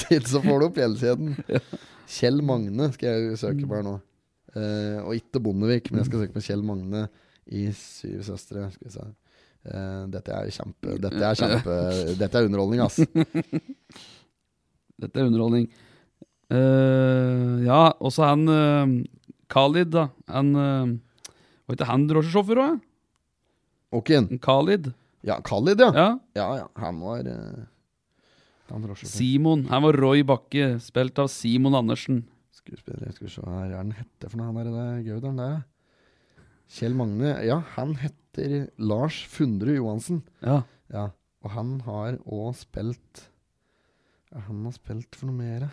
S1: Så ikke så får du opp fjellkjeden. Kjell Magne skal jeg søke på her nå. Eh, og ikke Bondevik, men jeg skal søke på Kjell Magne i Syv søstre. Skal vi se. Eh, dette er kjempe Dette er kjempe Dette er underholdning, ass.
S2: Dette er underholdning. Eh, ja, og så han eh, Khalid, da. Han uh, Var ikke han drosjesjåfør òg?
S1: Okin.
S2: Khalid?
S1: Ja, Khalid, ja.
S2: Ja.
S1: Ja, ja. Han var eh, Han drosjesjåfør.
S2: Simon. Han var Roy Bakke, spilt av Simon Andersen.
S1: Skuespiller, skal vi se her er han hette for noe, han der, der gauderen der. ja. Kjell Magne. Ja, han heter Lars Fundre Johansen.
S2: Ja.
S1: Ja, og han har òg spilt ja, Han har spilt for noe mer, ja.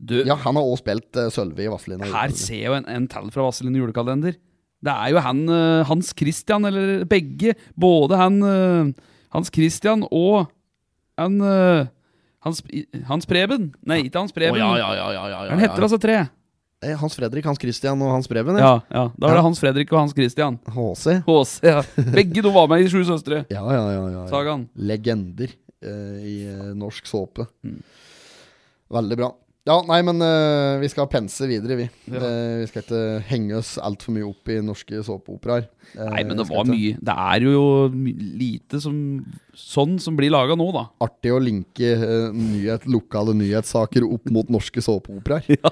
S2: Du,
S1: Ja, han har òg spilt eh, Sølve i Vazelina.
S2: her ser jo en, en tall fra Vazelin julekalender. Det er jo han eh, Hans Christian, eller begge. Både han eh, Hans Christian og han eh, Hans, Hans Preben. Nei, ikke Hans Preben. Han heter altså tre.
S1: Eh, Hans Fredrik, Hans Christian og Hans Preben.
S2: Ja, ja. Da er det Hans Fredrik og Hans Christian.
S1: HC.
S2: HC. Ja. Begge to var med i Sju søstre.
S1: Ja, ja, ja. ja, ja.
S2: Sagaen.
S1: Legender eh, i eh, norsk såpe.
S2: Mm.
S1: Veldig bra. Ja, nei, men eh, vi skal pense videre, vi. Eh, vi skal ikke henge oss altfor mye opp i norske såpeoperaer. Eh,
S2: Nei, men
S1: vi
S2: det
S1: skal
S2: var
S1: ikke-
S2: mye. Det er jo my- lite som sånn som blir laga nå, da.
S1: Artig å linke eh, nyhet, lokale nyhetssaker opp mot norske såpeoperaer.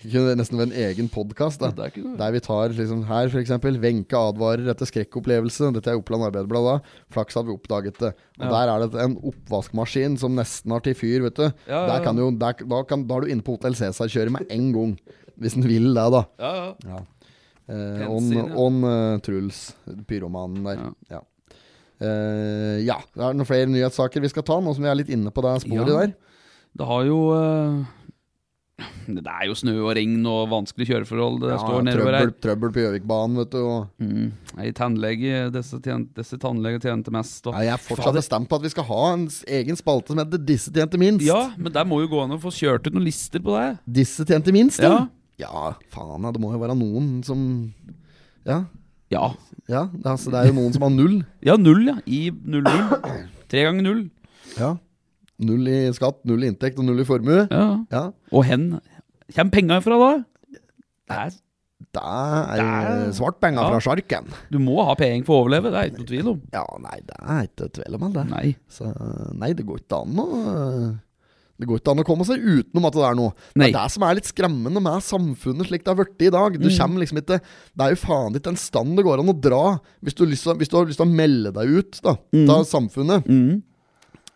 S1: Det kunne nesten vært en egen podkast.
S2: Ja, det er ikke det.
S1: Der vi tar liksom her, f.eks.: Wenche advarer etter skrekkopplevelse. Dette er Oppland Arbeiderblad da. Flaks at vi oppdaget det. Og Der er det en oppvaskmaskin som nesten har til fyr, vet du.
S2: Ja, ja,
S1: Der kan jo, der, da, kan, da er du inne på Hotell Cæsar kjøret med en gang. Hvis den vil det, da.
S2: Ja, ja.
S1: Eh,
S2: Pensil,
S1: on
S2: ja.
S1: on eh, Truls, pyromanen der.
S2: Ja.
S1: Ja. Eh, ja, det er noen flere nyhetssaker vi skal ta, nå som vi er litt inne på det sporet
S2: Ja.
S1: der.
S2: Det har jo eh, Det er jo snø og regn og vanskelige kjøreforhold det
S1: Ja,
S2: står nedover
S1: trøbbel,
S2: her.
S1: trøbbel på Gjøvikbanen, vet du. Og
S2: Mm. Ei tannlege Disse, tjen, disse tannleger tjente mest. Og.
S1: Nei, jeg er fortsatt bestemt på at vi skal ha en s- egen spalte som heter 'Disse tjente minst'.
S2: Ja, men der må jo gå an å få kjørt ut noen lister på det.
S1: Disse tjente minst,
S2: Ja.
S1: Ja, faen, ja, det må jo være noen som Ja.
S2: Ja.
S1: ja det, er- altså, det er jo noen som har null.
S2: Ja, null, ja. I 0-0. Tre ganger null.
S1: Ja. Null i skatt, null i inntekt og null i formue.
S2: Ja.
S1: Ja,
S2: Og hen kommer penga ifra da? Det er,
S1: Det er
S2: Det er-
S1: svart penger
S2: Ja.
S1: fra sjarken.
S2: du må ha penger for å overleve, det er ikke noe tvil om.
S1: Ja, nei, det er ikke tvil om det.
S2: Nei.
S1: Så nei, det går ikke an å det går ikke an å komme seg utenom at det er noe. Det
S2: Nei.
S1: er det som er litt skremmende med samfunnet slik det er blitt i dag. Du
S2: Mm.
S1: kommer liksom ikke Det er jo faen ikke en stand det går an å dra hvis du har lyst til, å- hvis du har lyst til å melde deg ut da,
S2: Mm.
S1: av samfunnet.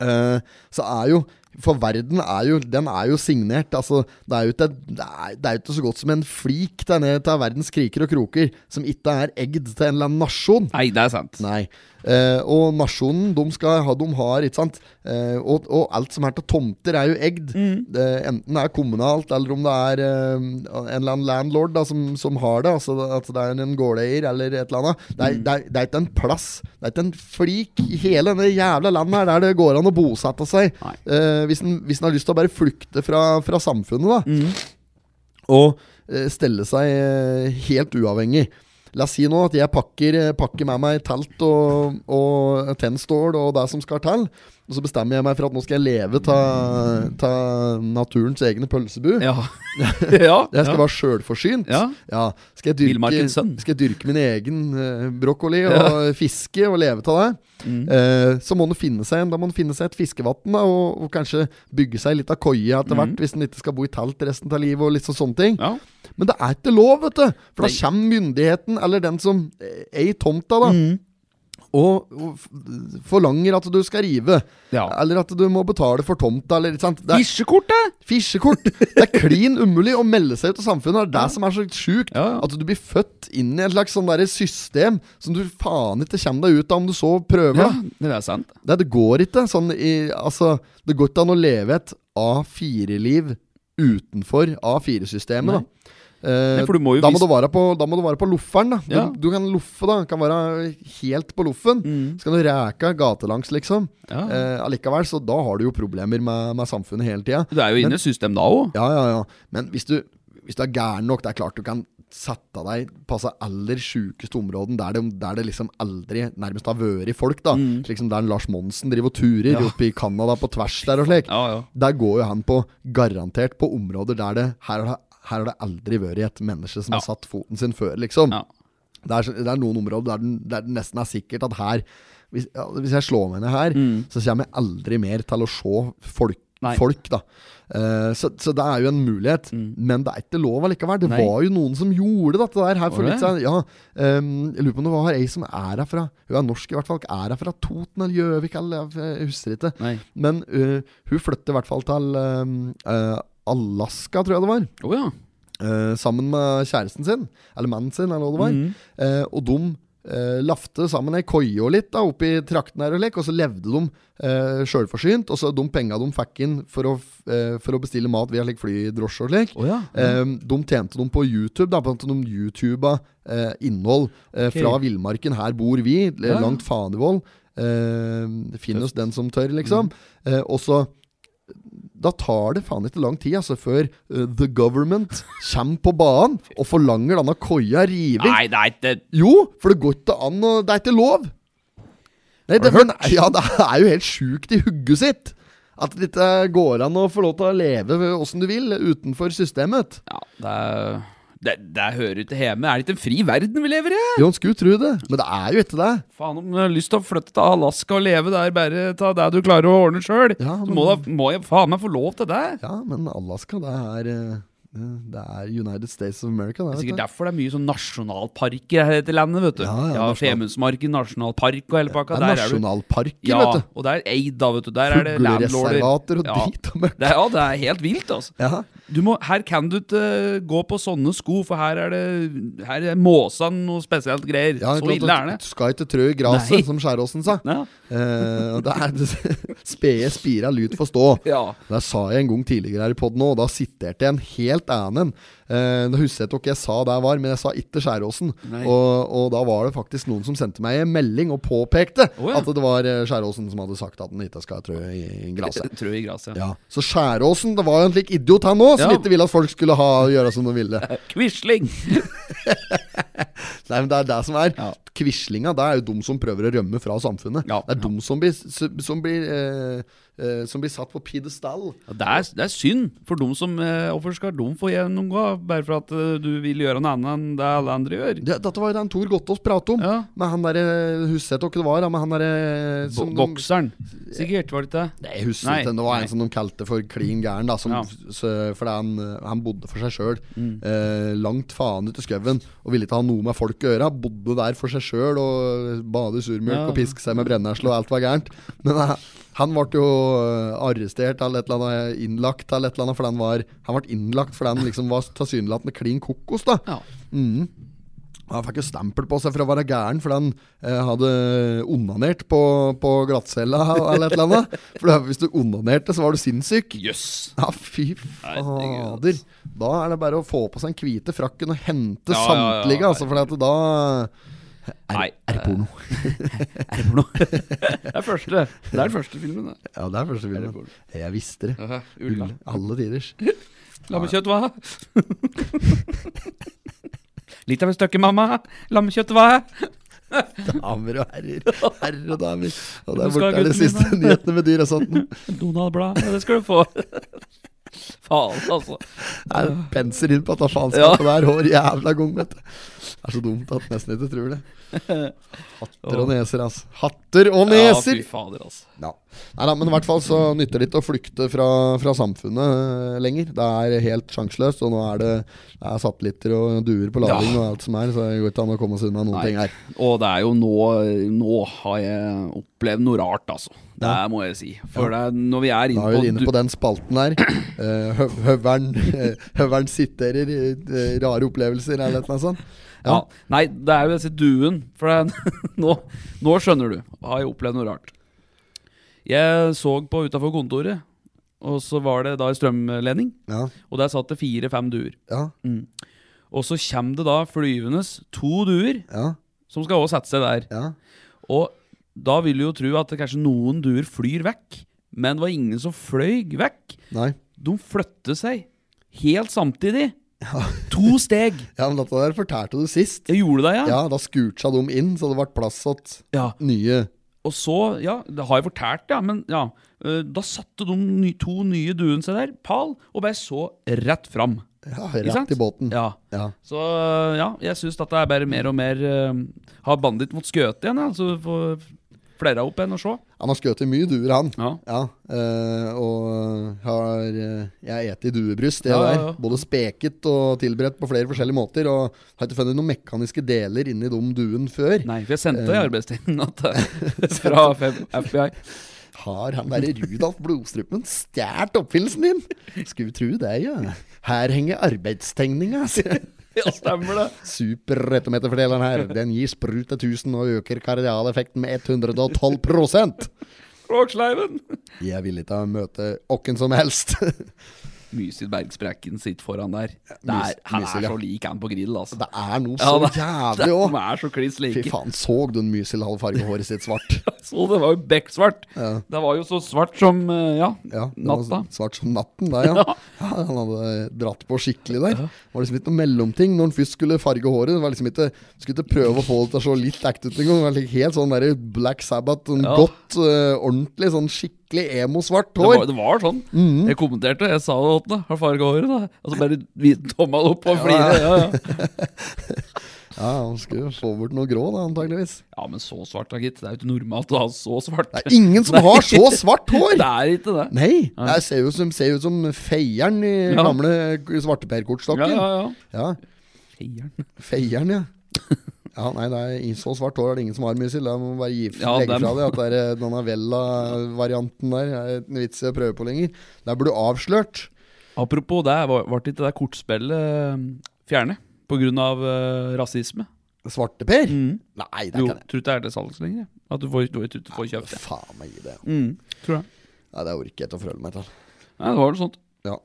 S1: Eh, så er jo For verden er jo Den er jo signert. Altså, det er jo ikke, det er, det er jo ikke så godt som en flik der nede til verdens kriker og kroker som ikke er eggd til en eller annen nasjon.
S2: Nei, det er sant.
S1: Nei. Eh, og nasjonen, de, skal ha, de har, ikke sant eh, og, og alt som er til tomter, er jo eggd.
S2: Mm.
S1: Eh, enten det er kommunalt, eller om det er eh, en eller annen landlord da, som, som har det. Altså at det er en gårdeier eller et eller annet. Det
S2: Mm.
S1: er, det, er, det er ikke en plass. Det er ikke en flik i hele det jævla landet her der det går an å bosette seg.
S2: Nei.
S1: Eh, hvis, en, hvis en har lyst til å bare flykte fra, fra samfunnet, da og eh, stelle seg eh, helt uavhengig. La oss si nå at jeg pakker, eh, pakker med meg telt og, og tennstål og det som skal til. Og så bestemmer jeg meg for at nå skal jeg leve av naturens egne pølsebu.
S2: Ja. ja.
S1: Jeg skal være sjølforsynt.
S2: Ja.
S1: Skal, jeg dyrke,
S2: Villmarkens sønn.
S1: skal jeg dyrke min egen eh, brokkoli og fiske og leve av det?
S2: Mm.
S1: Eh, så må en finne seg en- Da må en finne seg et fiskevann og, og kanskje bygge seg litt av koie
S2: Mm.
S1: etter hvert, hvis en ikke skal bo i telt resten av livet. og litt så, sånne ting
S2: ja.
S1: Men det er ikke lov, vet du! For da
S2: Nei.
S1: kommer myndigheten, eller den som eh, er i tomta,
S2: Mm.
S1: da. Og, og f- forlanger at du skal rive,
S2: Ja.
S1: eller at du må betale for tomta. Eller, ikke sant? Det er-
S2: Fisjekortet!
S1: Fisjekort! Det er klin umulig å melde seg ut av samfunnet. Det er det som er så sjukt.
S2: Ja, ja.
S1: At du blir født inn i et slags sånn derre system som du faen ikke kommer deg ut av om du så prøver.
S2: Ja, det er sant.
S1: Det, det går ikke sånn i Altså, det går ikke an å leve et A4-liv utenfor A4-systemet,
S2: Nei.
S1: da. Eh,
S2: Nei, for du må jo
S1: da,
S2: vis-
S1: må du være på, da må du være på lofferen, da. Du,
S2: Ja.
S1: du kan loffe, da. Kan være helt på loffen. Så kan du reke gatelangs, liksom.
S2: Mm. Ja.
S1: Eh, allikevel, så da har du jo problemer med, med samfunnet hele tida.
S2: Du er jo inne i systemet da òg.
S1: Ja, ja, ja. Men hvis du, hvis du er gæren nok, det er klart du kan sette deg på altså aller sjukeste områden der det, der det liksom aldri nærmest har vært folk, da. Slik som der en Lars Monsen driver og turer
S2: Mm. Ja.
S1: oppe i Canada på tvers der og slik.
S2: Ja, ja.
S1: Der går jo han på garantert på områder der det Her har det, her har det aldri vært et menneske som
S2: Ja.
S1: har satt foten sin før, liksom.
S2: Ja.
S1: Det er, så- det er noen områder der den- der det nesten er sikkert at her Hvis, ja, hvis jeg slår meg ned her, så kommer jeg aldri mer til å se folk.
S2: Mm. Nei.
S1: folk da Eh, så, så det er jo en mulighet, men det er ikke lov allikevel. Det
S2: Mm. Nei.
S1: var jo noen som gjorde dette der her for
S2: Var
S1: litt
S2: det?
S1: siden. Ja, ehm, jeg lurer på om det var ei som er herfra. Hun er norsk i hvert fall. Er herfra Toten eller Gjøvik, eller jeg husker ikke.
S2: Nei.
S1: Men eh, hun flytter i hvert fall til ehm, eh, Alaska, tror jeg det var.
S2: Å ja.
S1: Eh, sammen med kjæresten sin, eller mannen sin, eller hva det var.
S2: Mm.
S1: Eh, og de eh, lafte sammen ei koie og litt da, oppi trakten her og lek, og så levde de uh, sjølforsynt. Og så de penga de fikk inn for å, f- eh, for å bestille mat via like, flydrosje og lek,
S2: Å ja.
S1: Ehm, de tjente de på YouTube, da, på at de YouTuba eh, innhold eh,
S2: Ok.
S1: fra villmarken. Her bor vi, l-
S2: Ja.
S1: langt fanevoll. Eh, Finn oss den som tør, liksom.
S2: Mm.
S1: Eh, og så Da tar det faen ikke lang tid altså, før eh, the government kommer på banen og forlanger denne koia revet.
S2: Nei, det er ikke
S1: Jo, for det går ikke an å Det er ikke lov. Nei, det, men, ja, det er jo helt sjukt i hugget sitt. At det ikke går an å få lov til å leve åssen du vil utenfor systemet.
S2: Ja, det er det, det hører ikke hjemme. Er det ikke en fri verden vi lever i?
S1: Jo, en skulle tro det, men det er jo ikke det.
S2: Faen om du har lyst til å flytte til Alaska og leve der bare ta det du klarer å ordne sjøl.
S1: Ja,
S2: så
S1: men-
S2: må, da, må jeg faen meg få lov til det.
S1: Ja, men Alaska, det er eh, Det er United States of America,
S2: Det
S1: det.
S2: er sikkert
S1: Vet du.
S2: derfor det er mye sånn nasjonalparker her i dette landet, vet du. Ja,
S1: Ja, ja, nasjonal-
S2: Femundsmarken nasjonalpark og hele
S1: Det
S2: pakka.
S1: er
S2: Der er du.
S1: nasjonalparken,
S2: Ja,
S1: vet du.
S2: og det er eid, da, vet du. Der er det landlorder.
S1: Fuglereservater og
S2: Ja.
S1: drit og møkk.
S2: Det, er- ja, det er helt vilt, altså.
S1: Ja.
S2: Du må, her kan du ikke eh, gå på sånne sko, for her er det Her er måsan noe spesielt greier.
S1: Ja,
S2: så ille er det.
S1: Du skal ikke trø i
S2: Nei.
S1: graset, som Skjæråsen sa.
S2: Ja.
S1: Eh, og det er spede spira lut for stå.
S2: Ja.
S1: Det sa jeg en gang tidligere her i podden òg, og da siterte jeg en helt annen. Eh, Nå husker jeg ikke hva jeg sa der var, men jeg sa ikke Skjæråsen.
S2: Nei.
S1: Og, og da var det faktisk noen som sendte meg en melding og påpekte
S2: Å, ja.
S1: at det var eh, Skjæråsen som hadde sagt at den ikke skal trø i i graset.
S2: Trø i gresset.
S1: Ja.
S2: Ja.
S1: Så Skjæråsen, det var jo en slik idiot han òg, som
S2: eh. Ja.
S1: ikke ville at folk skulle ha, gjøre som de ville.
S2: Quisling!
S1: Nei, men Det er det som er
S2: Ja.
S1: Quislinga det er jo de som prøver å rømme fra samfunnet.
S2: Ja.
S1: Det er de som blir, som blir, eh, eh, som blir satt på pidestall.
S2: Ja, Det er, det er synd for dem som eh, Hvorfor skal de få gjennomgå bare for at eh, du vil gjøre noe annet enn det alle andre gjør?
S1: Det, dette var jo den Tor Gottaas pratet om.
S2: Ja.
S1: Med han derre Husker jeg ikke hva det var. da, Med han derre
S2: Bo
S1: som de-
S2: bokseren. Sikkert, var det ikke det?
S1: Nei, jeg husker
S2: Nei,
S1: ikke. Det var
S2: nei.
S1: en sånn- som de kalte for klin gæren. da som,
S2: Ja. Mm.
S1: s- Fordi han, eh, han bodde for seg sjøl. Eh, langt faen ut i skauen. Og ville ikke ha noe med folk å gjøre. Han Bodde der for seg sjøl og eh, bade i surmjølk
S2: Ja.
S1: og piske seg med brennesle, og alt var gærent. Men eh, han ble jo eh, arrestert eller et eller annet, innlagt eller et eller annet, fordi han var Han ble innlagt fordi han liksom var tilsynelatende klin kokos, da.
S2: Ja.
S1: Mhm. Han fikk jo stempel på seg for å være gæren fordi han eh, hadde onanert på, på glattcella eller et eller annet. For da- hvis du onanerte, så var du sinnssyk.
S2: Jøss!
S1: Ja, fy
S2: Herregud,
S1: fader. Da er det bare å få på seg den hvite frakken og hente
S2: Ja, ja, ja,
S1: samtlige,
S2: ja.
S1: altså, for at da er,
S2: Nei,
S1: er det porno.
S2: Er det for noe? det er første. Det er den første filmen, det.
S1: Ja, det er første filmen. Jeg visste det.
S2: Aha, Ulla.
S1: Alle tiders.
S2: Lammekjøtt, hva? Litt av et stykke, mamma. Lammekjøtt, hva?
S1: Damer og herrer. Herrer og damer. Og
S2: Du
S1: der
S2: skal
S1: borte
S2: ha
S1: er de
S2: gutten min,
S1: siste
S2: da.
S1: nyhetene med dyr og sånt.
S2: Donald-blad. Ja, Det skal du få. Faen, altså.
S1: Jeg penser inn på at det faenskapet der hår jævla gong, vet du. Det er så dumt at nesten ikke tror det. Hatter og neser, altså. Hatter og
S2: Ja, fy
S1: neser!
S2: fader, altså.
S1: Ja. Nei da, men i hvert fall så nytter det ikke å flykte fra, fra samfunnet eh, lenger. Det er helt sjanseløst, og nå er det, det er satellitter og duer på lading og alt som er, så det går ikke an å komme seg unna noen
S2: Nei.
S1: ting her.
S2: Og det er jo nå Nå har jeg opplevd noe rart, altså. Det må jeg si. For det er, når vi er
S1: Da er vi
S2: inne
S1: inne
S2: på,
S1: på den spalten der. Eh, høv, høveren, høveren siterer eh, rare opplevelser eller noe sånt.
S2: ja. Nei, det er jo disse duen. For det, er- nå, nå skjønner du. Har jeg opplevd noe rart. Jeg så på utafor kontoret, og så var det da en strømledning.
S1: Ja.
S2: Og der satt det fire-fem duer.
S1: Ja.
S2: Og så kommer det da flyvende to duer
S1: Ja.
S2: som skal også sette seg der.
S1: Ja.
S2: Og da vil du jo tro at det kanskje noen duer flyr vekk, men det var ingen som fløy vekk.
S1: Nei.
S2: De flyttet seg helt samtidig. To steg.
S1: Ja, men dette der fortalte du sist.
S2: Jeg gjorde det, ja.
S1: Ja, da skurtsa de inn, så det ble plass til
S2: Ja.
S1: nye
S2: Og så, ja, det har jeg fortalt, ja, men ja. eh, Da satte de ny, to nye duene seg der, pal, og bare så rett fram.
S1: ja,
S2: Ikke sant?
S1: rett i båten.
S2: Ja.
S1: Ja.
S2: Så eh, ja, jeg syns dette er bare mer og mer eh, Har banditt mot skøte igjen, ja, så vi får flere opp igjen og se.
S1: Han har skutt i mye duer, han.
S2: Ja.
S1: eh, og har eh, Jeg eter duebryst, det
S2: Ja, ja,
S1: der.
S2: ja.
S1: Både speket og tilberedt på flere forskjellige måter. Og har ikke funnet noen mekaniske deler inni de duen før.
S2: Nei, for jeg sendte i arbeidstiden at eh, fra FBI.
S1: Har han derre Rudolf Blodstrupen stjålet oppfinnelsen din? Skulle tru det, ja. Her henger arbeidstegninga, sier jeg.
S2: Ja, stemmer det.
S1: Superrettometerfordeleren her. Den gir sprut til 1000 og øker kardialeffekten med 112
S2: Råksleiven.
S1: Jeg vil ikke møte åkken som helst.
S2: Mysid Bergsprekken sitter foran der. Det
S1: Mys-
S2: er, han
S1: Mysil,
S2: er
S1: ja.
S2: så lik han på grill, altså.
S1: Det er noe
S2: Ja,
S1: så
S2: det-
S1: jævlig
S2: De
S1: òg.
S2: er så kliss
S1: Fy
S2: like.
S1: faen, så du en Mysil hadde farget håret sitt svart?
S2: Så det var jo bekksvart.
S1: Ja.
S2: Det var jo så svart som eh, ja,
S1: Ja, det var
S2: natta.
S1: Svart som natten, der, ja. ja. Han hadde dratt på skikkelig der. Det var liksom ikke noe mellomting når han først skulle farge håret. Det var liksom ikke, Skulle ikke prøve å få det til å se litt ekte ut engang. Det var like Helt sånn der Black Sabbath, sånn
S2: Ja.
S1: godt, eh, ordentlig, sånn skikkelig emo-svart
S2: Det
S1: hår.
S2: var, det var sånn.
S1: Mhm.
S2: Jeg kommenterte, jeg sa det til ham. Har farga håret, da? Og så bare vidt tommel opp og flire. Ja, ja.
S1: Ja, han skulle få bort noe grå, da, antageligvis.
S2: ja, men så svart da, gitt. Det er jo ikke normalt å ha så svart.
S1: Det er ingen som har så svart hår!
S2: Det er ikke det.
S1: Nei! Det ser jo ut som, ser ut som feieren i
S2: Ja.
S1: gamle
S2: Ja,
S1: svarteperkortstokken.
S2: ja,
S1: Ja,
S2: ja. Feieren.
S1: Feieren, ja. Ja, nei, det er i- så svart hår er det ingen som har, Mysil. Da må man bare gi,
S2: Ja,
S1: legge
S2: dem.
S1: fra deg at det er, eh, denne Vella-varianten der er ikke noe vits i å prøve på lenger. Der blir du avslørt.
S2: Apropos det, var- ble ikke det kortspillet eh, fjernet pga. Uh, rasisme?
S1: Svarteper?
S2: Mm.
S1: Nei, det
S2: Jo,
S1: kan jeg
S2: tror ikke det er til salgs lenger. jeg. At du får, du vet, du får kjøpt det.
S1: Faen meg i det.
S2: Mm, tror jeg.
S1: Nei, det orker jeg ikke å forholde meg til.
S2: Nei, det var sånn. noe sånt.
S1: Ja.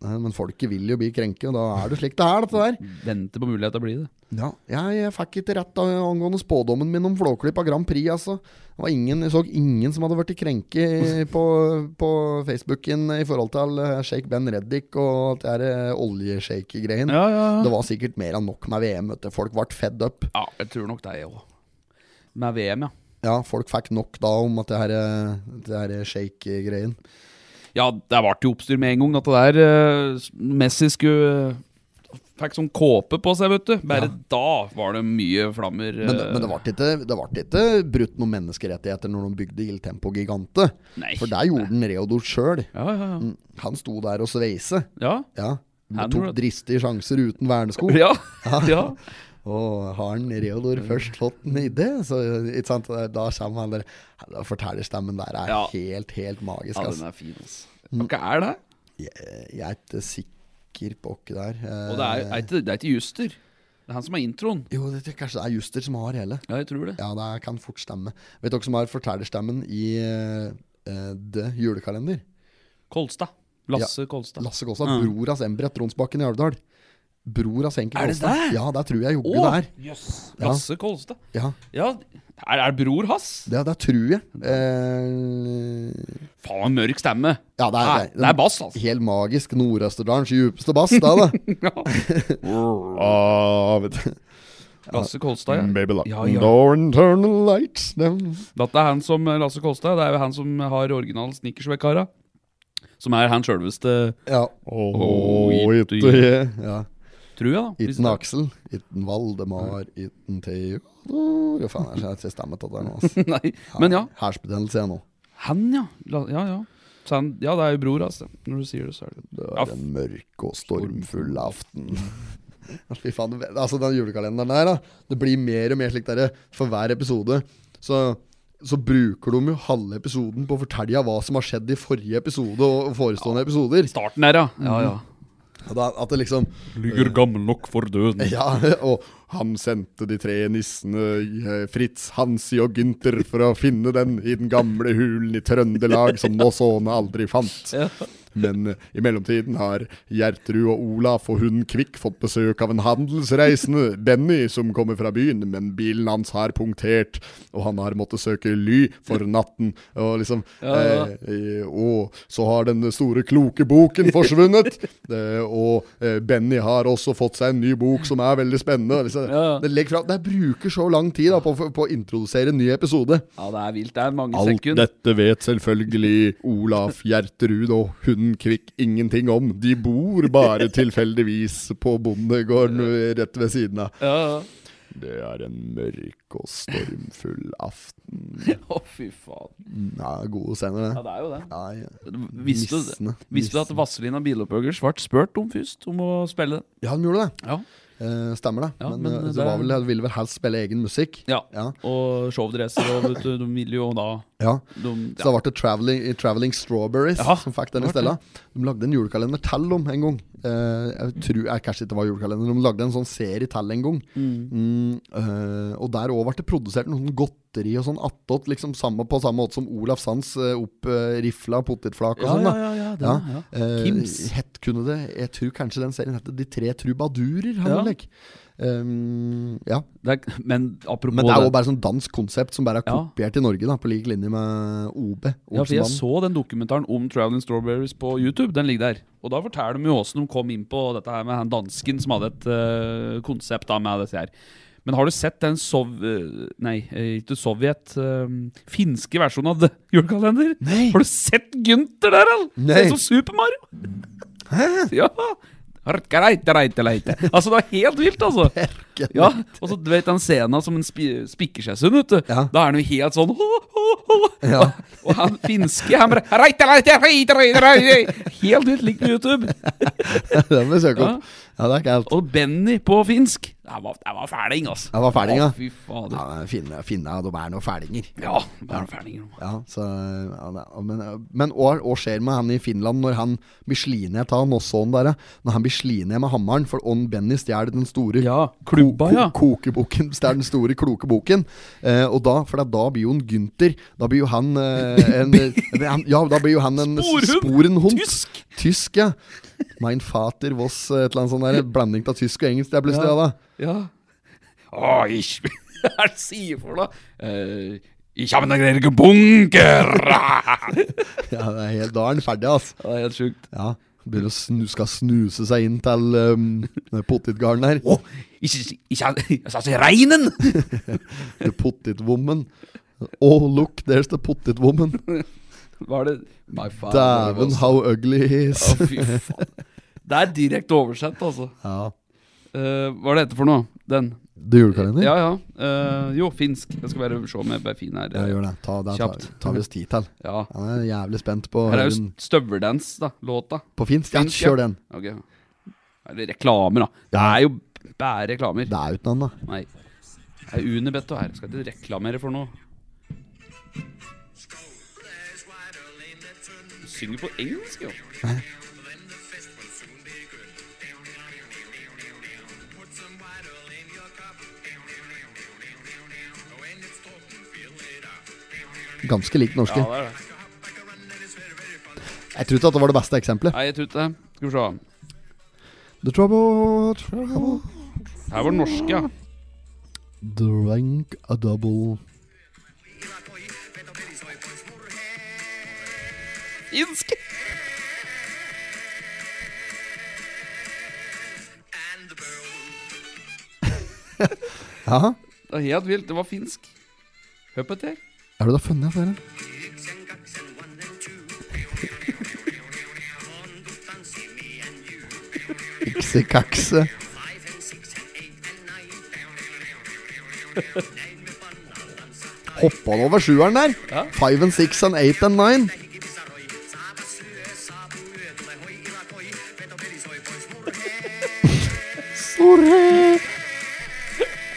S1: Nei, men folket vil jo bli krenket, og da er det slik det er, dette der.
S2: Vente på mulighet til å bli det.
S1: Ja, jeg, jeg fikk ikke rett av, angående spådommen min om Flåklypa Grand Prix. Altså. Det var ingen, jeg så ingen som hadde vært krenket på, på Facebooken i forhold til eh, Shake Ben Reddik og det der eh, oljeshake-greien.
S2: Ja, ja,
S1: Det
S2: ja.
S1: var sikkert mer enn nok med VM. Vet du. Folk ble fed up.
S2: ja jeg tror nok det, jeg òg. Med VM, ja.
S1: Ja, folk fikk nok da om at det her, eh, det her shake-greien.
S2: Ja, det ble jo oppstyr med en gang. At det der eh, Messi skulle Fikk sånn kåpe på seg, vet du. Bare da var det mye flammer. eh,
S1: Men, det- men det ble ikke, det ble ikke brutt noen menneskerettigheter når de bygde Il Tempo Gigante.
S2: Nei.
S1: For Mm. der gjorde den Reodor sjøl.
S2: Ja, ja, ja.
S1: Han sto der og sveise.
S2: Ja.
S1: Ja.
S2: Han
S1: Han tok
S2: gjorde det.
S1: dristige sjanser uten vernesko.
S2: Ja. ja.
S1: Og har han Reodor først fått en idé, så ikke sant? da kommer han der Da Fortellerstemmen der er
S2: Ja.
S1: helt, helt magisk.
S2: ja
S1: ass.
S2: den er fin, altså.
S1: Mm.
S2: Hva er det?
S1: Jeg, jeg er ikke sikker på hva det er. Eh,
S2: Og det er, er, ikke, det er ikke Juster. Det er han som har introen.
S1: Jo, det, kanskje det er Juster som har hele.
S2: Ja, jeg tror det.
S1: Ja, det kan fort stemme. Vet dere som har fortellerstemmen i uh, The Julekalender?
S2: Kolstad. Lasse Kolstad.
S1: Lasse Kåstad, bror av Embret Tronsbakken i Alvdal. Bror av Senkel
S2: Er det
S1: Kåstad.
S2: det?
S1: Ja, det tror jeg jobber
S2: Å,
S1: der.
S2: jøss.
S1: Ja.
S2: Lasse Kolstad.
S1: Ja,
S2: Ja, er, er bror hans?
S1: det, det tror jeg. Eh,
S2: Faen, mørk stemme.
S1: Ja, det er,
S2: Nei, det er bass, altså.
S1: Helt magisk. Nordøsterdalens djupeste bass, det er det.
S2: Ja.
S1: Ah, vet du.
S2: Lasse Kolstad, ja.
S1: Mm, Baby
S2: Ja,
S1: ja,
S2: ja.
S1: Door and turn the lights down.
S2: Dette er han som eh, Lasse Kolstad. Det er jo han som har originalen Snickersvekkara. Som er han sjølveste,
S1: Ja.
S2: Oh,
S1: Åh,
S2: it-
S1: it- yeah. ja.
S2: tror jeg, da. Hvis-
S1: Itten Aksel, itten Valdemar, itten Theodor Hva faen er det jeg stemmer til der nå? altså. ass.
S2: Nei, men ja.
S1: Hersbetennelse igjen nå.
S2: Han, ja. La, ja, ja. Så han, ja, det er jo bror, altså. Når du sier det, så er det
S1: Det
S2: Ja,
S1: var
S2: f-
S1: en mørk og stormfull aften. Fy faen, det- altså den julekalenderen der, da. Det blir mer og mer slik der for hver episode. Så, så bruker de jo halve episoden på å fortelle hva som har skjedd i forrige episode og forestående episoder.
S2: starten der, ja. Mhm. ja, ja.
S1: Og Da, at det liksom
S2: Lyger gammel nok for døden.
S1: Ja, og han sendte de tre nissene, eh, Fritz, Hansi og Gynter, for å finne den i den gamle hulen i Trøndelag som Nåsåne aldri fant. Men eh, i mellomtiden har Gjertrud og Olaf og hun Kvikk fått besøk av en handelsreisende, Benny, som kommer fra byen, men bilen hans har punktert, og han har måttet søke ly for natten. Og liksom
S2: ja.
S1: Eh, og så har den store, kloke boken forsvunnet. eh, og eh, Benny har også fått seg en ny bok som er veldig spennende. og Liksom.
S2: Ja.
S1: Det, legger fra, det bruker så lang tid da, på, på å introdusere en ny episode.
S2: Ja, det er vilt. Det er mange
S1: Alt
S2: sekunder.
S1: dette vet selvfølgelig Olaf Gjertrud og hunden Kvikk ingenting om. De bor bare tilfeldigvis på bondegården rett ved siden av.
S2: Ja, ja.
S1: Det er en mørk og stormfull aften.
S2: Å, fy faen.
S1: Ja, gode scener,
S2: Ja,
S1: det.
S2: det er jo det.
S1: Ja, ja.
S2: Visste du,
S1: Nissene.
S2: visste du at Vazelina Bilopphøggers ble spurt om først, om å spille den?
S1: ja, de gjorde det.
S2: Ja.
S1: Eh, stemmer det.
S2: Ja,
S1: men
S2: men,
S1: eh,
S2: eh,
S1: det var
S2: det-
S1: vel, jeg ville vel helst spille egen musikk.
S2: ja.
S1: Ja.
S2: Og showdresser og vet du, de ville jo da
S1: Ja.
S2: de,
S1: Så da ble det Traveling, Traveling Strawberries
S2: Ja,
S1: som fikk den i
S2: det ble
S1: stedet. De lagde en julekalender til om en gang. Eh, jeg tror, jeg, kanskje ikke det var julekalender, de lagde en sånn serie til en gang. Mm, eh, og der òg ble det produsert noe sånn godteri og sånn attåt, liksom samme, på samme måte som Olaf Sands eh, opprifla potetflak og
S2: Ja,
S1: sånn.
S2: ja,
S1: da
S2: ja, ja, det,
S1: Ja.
S2: ja.
S1: Eh,
S2: Kims.
S1: Hett kunne det Jeg tror kanskje den serien heter De tre trubadurer.
S2: Ja.
S1: Ja. Um, ja.
S2: Det er, men apropos
S1: Men det er
S2: det-
S1: jo bare sånn dansk konsept som bare er
S2: Ja.
S1: kopiert i Norge, da, på lik linje med OB.
S2: Ja, for jeg
S1: Olsenbanden.
S2: så den dokumentaren om Traveling Strawberries på YouTube. Den ligger der. Og da forteller de jo åssen de kom inn på dette her med han dansken som hadde et eh, konsept da med dette her. Men har du sett den sov... eh, nei, eh, ikke Sovjet eh, Finske versjonen av det, julekalender?
S1: Nei.
S2: Har du sett Gunther der, eller?
S1: Nei.
S2: Ser ut som Super Mario! ja. Reite, reite, reite. Altså, det var helt vilt, altså. Ja, og så du vet den scenen som han spi spikker seg sunn, vet du.
S1: Ja.
S2: Da er han jo helt sånn «Hå, hå, hå».
S1: Ja.
S2: og, og han finske, han bare «Reite, reite, reite, reite, reite». Helt ut likt på YouTube.
S1: Den vil jeg søke opp. Ja, det er ikke helt
S2: Og Benny på finsk. Det var, det var fæling, altså.
S1: Det var fæling, ja.
S2: Å, Fy fader.
S1: Ja, men finne, finne, de er noen fælinger.
S2: Ja, bare fæling. ja.
S1: Ja, så, ja, det- men men hva, hva skjer med han i Finland når han blir sliten ned av han også, han der, Når han blir sliten ned med hammeren, for on Benny stjeler den store
S2: Ja, klubba,
S1: ko-
S2: ja.
S1: kokeboken. Det er den store klokeboken. Eh, og da, for da- da blir jo en Gunther Da blir jo han eh, en, eh, han, Ja, da blir jo han en
S2: Sporhund.
S1: sporenhund.
S2: Tysk.
S1: Tysk, ja. Mein Vater was eh, et eller annet sånt der. Blanding av tysk og engelsk. Det er plutselig
S2: Ja.
S1: ja. da.
S2: Ja. Å, ich Hva er det han sier for noe? Eh, ich habe einen greigen bunker! det
S1: Ja, det er helt, da er han ferdig, altså.
S2: er helt sjukt.
S1: Ja. Begynner å snu, skal snuse seg inn til um, potetgarden her.
S2: Å, ikke, ikke, jeg sa ikke reinen!
S1: The potetwoman. Oh, look, there's the potetwoman.
S2: Var det My father
S1: Dæven,
S2: was-
S1: how ugly he is.
S2: Å, fy faen. Det er direkte oversett, altså.
S1: Ja.
S2: Eh, hva er det dette for noe? Den?
S1: Det er julekalender?
S2: Ja, ja. Eh, jo, finsk. Jeg skal bare se om jeg bare finner
S1: Ja,
S2: her.
S1: gjør det. Ta, det tar,
S2: Kjapt.
S1: tar vi oss tid til.
S2: Ja.
S1: Han er jævlig spent på, å
S2: Her er
S1: høre
S2: jo
S1: den
S2: st- støveldans, da. Låta.
S1: på finsk. Ja,
S2: Finsk, ja.
S1: kjør den.
S2: Ok. Er det reklamer, da? Det er jo bare reklamer.
S1: Det er uten han, da.
S2: Nei. Det er Unibet og her. Skal ikke reklamere for noe. Synger på engelsk, jo.
S1: Ganske lik norske.
S2: Ja, det er det.
S1: Jeg tror ikke at det var det beste eksempelet.
S2: Nei, jeg tror ikke det. Skal vi se.
S1: The trouble, trouble
S2: Her var det norske, ja.
S1: Drink a double
S2: Finsk!
S1: Ja,
S2: Det var helt vilt. Det var finsk. Hør på dette. her.
S1: er du da funnet, eller? Ikse-kakse. Hoppa han over sjueren der?
S2: Ja.
S1: Five and six and eight and nine. Sorry.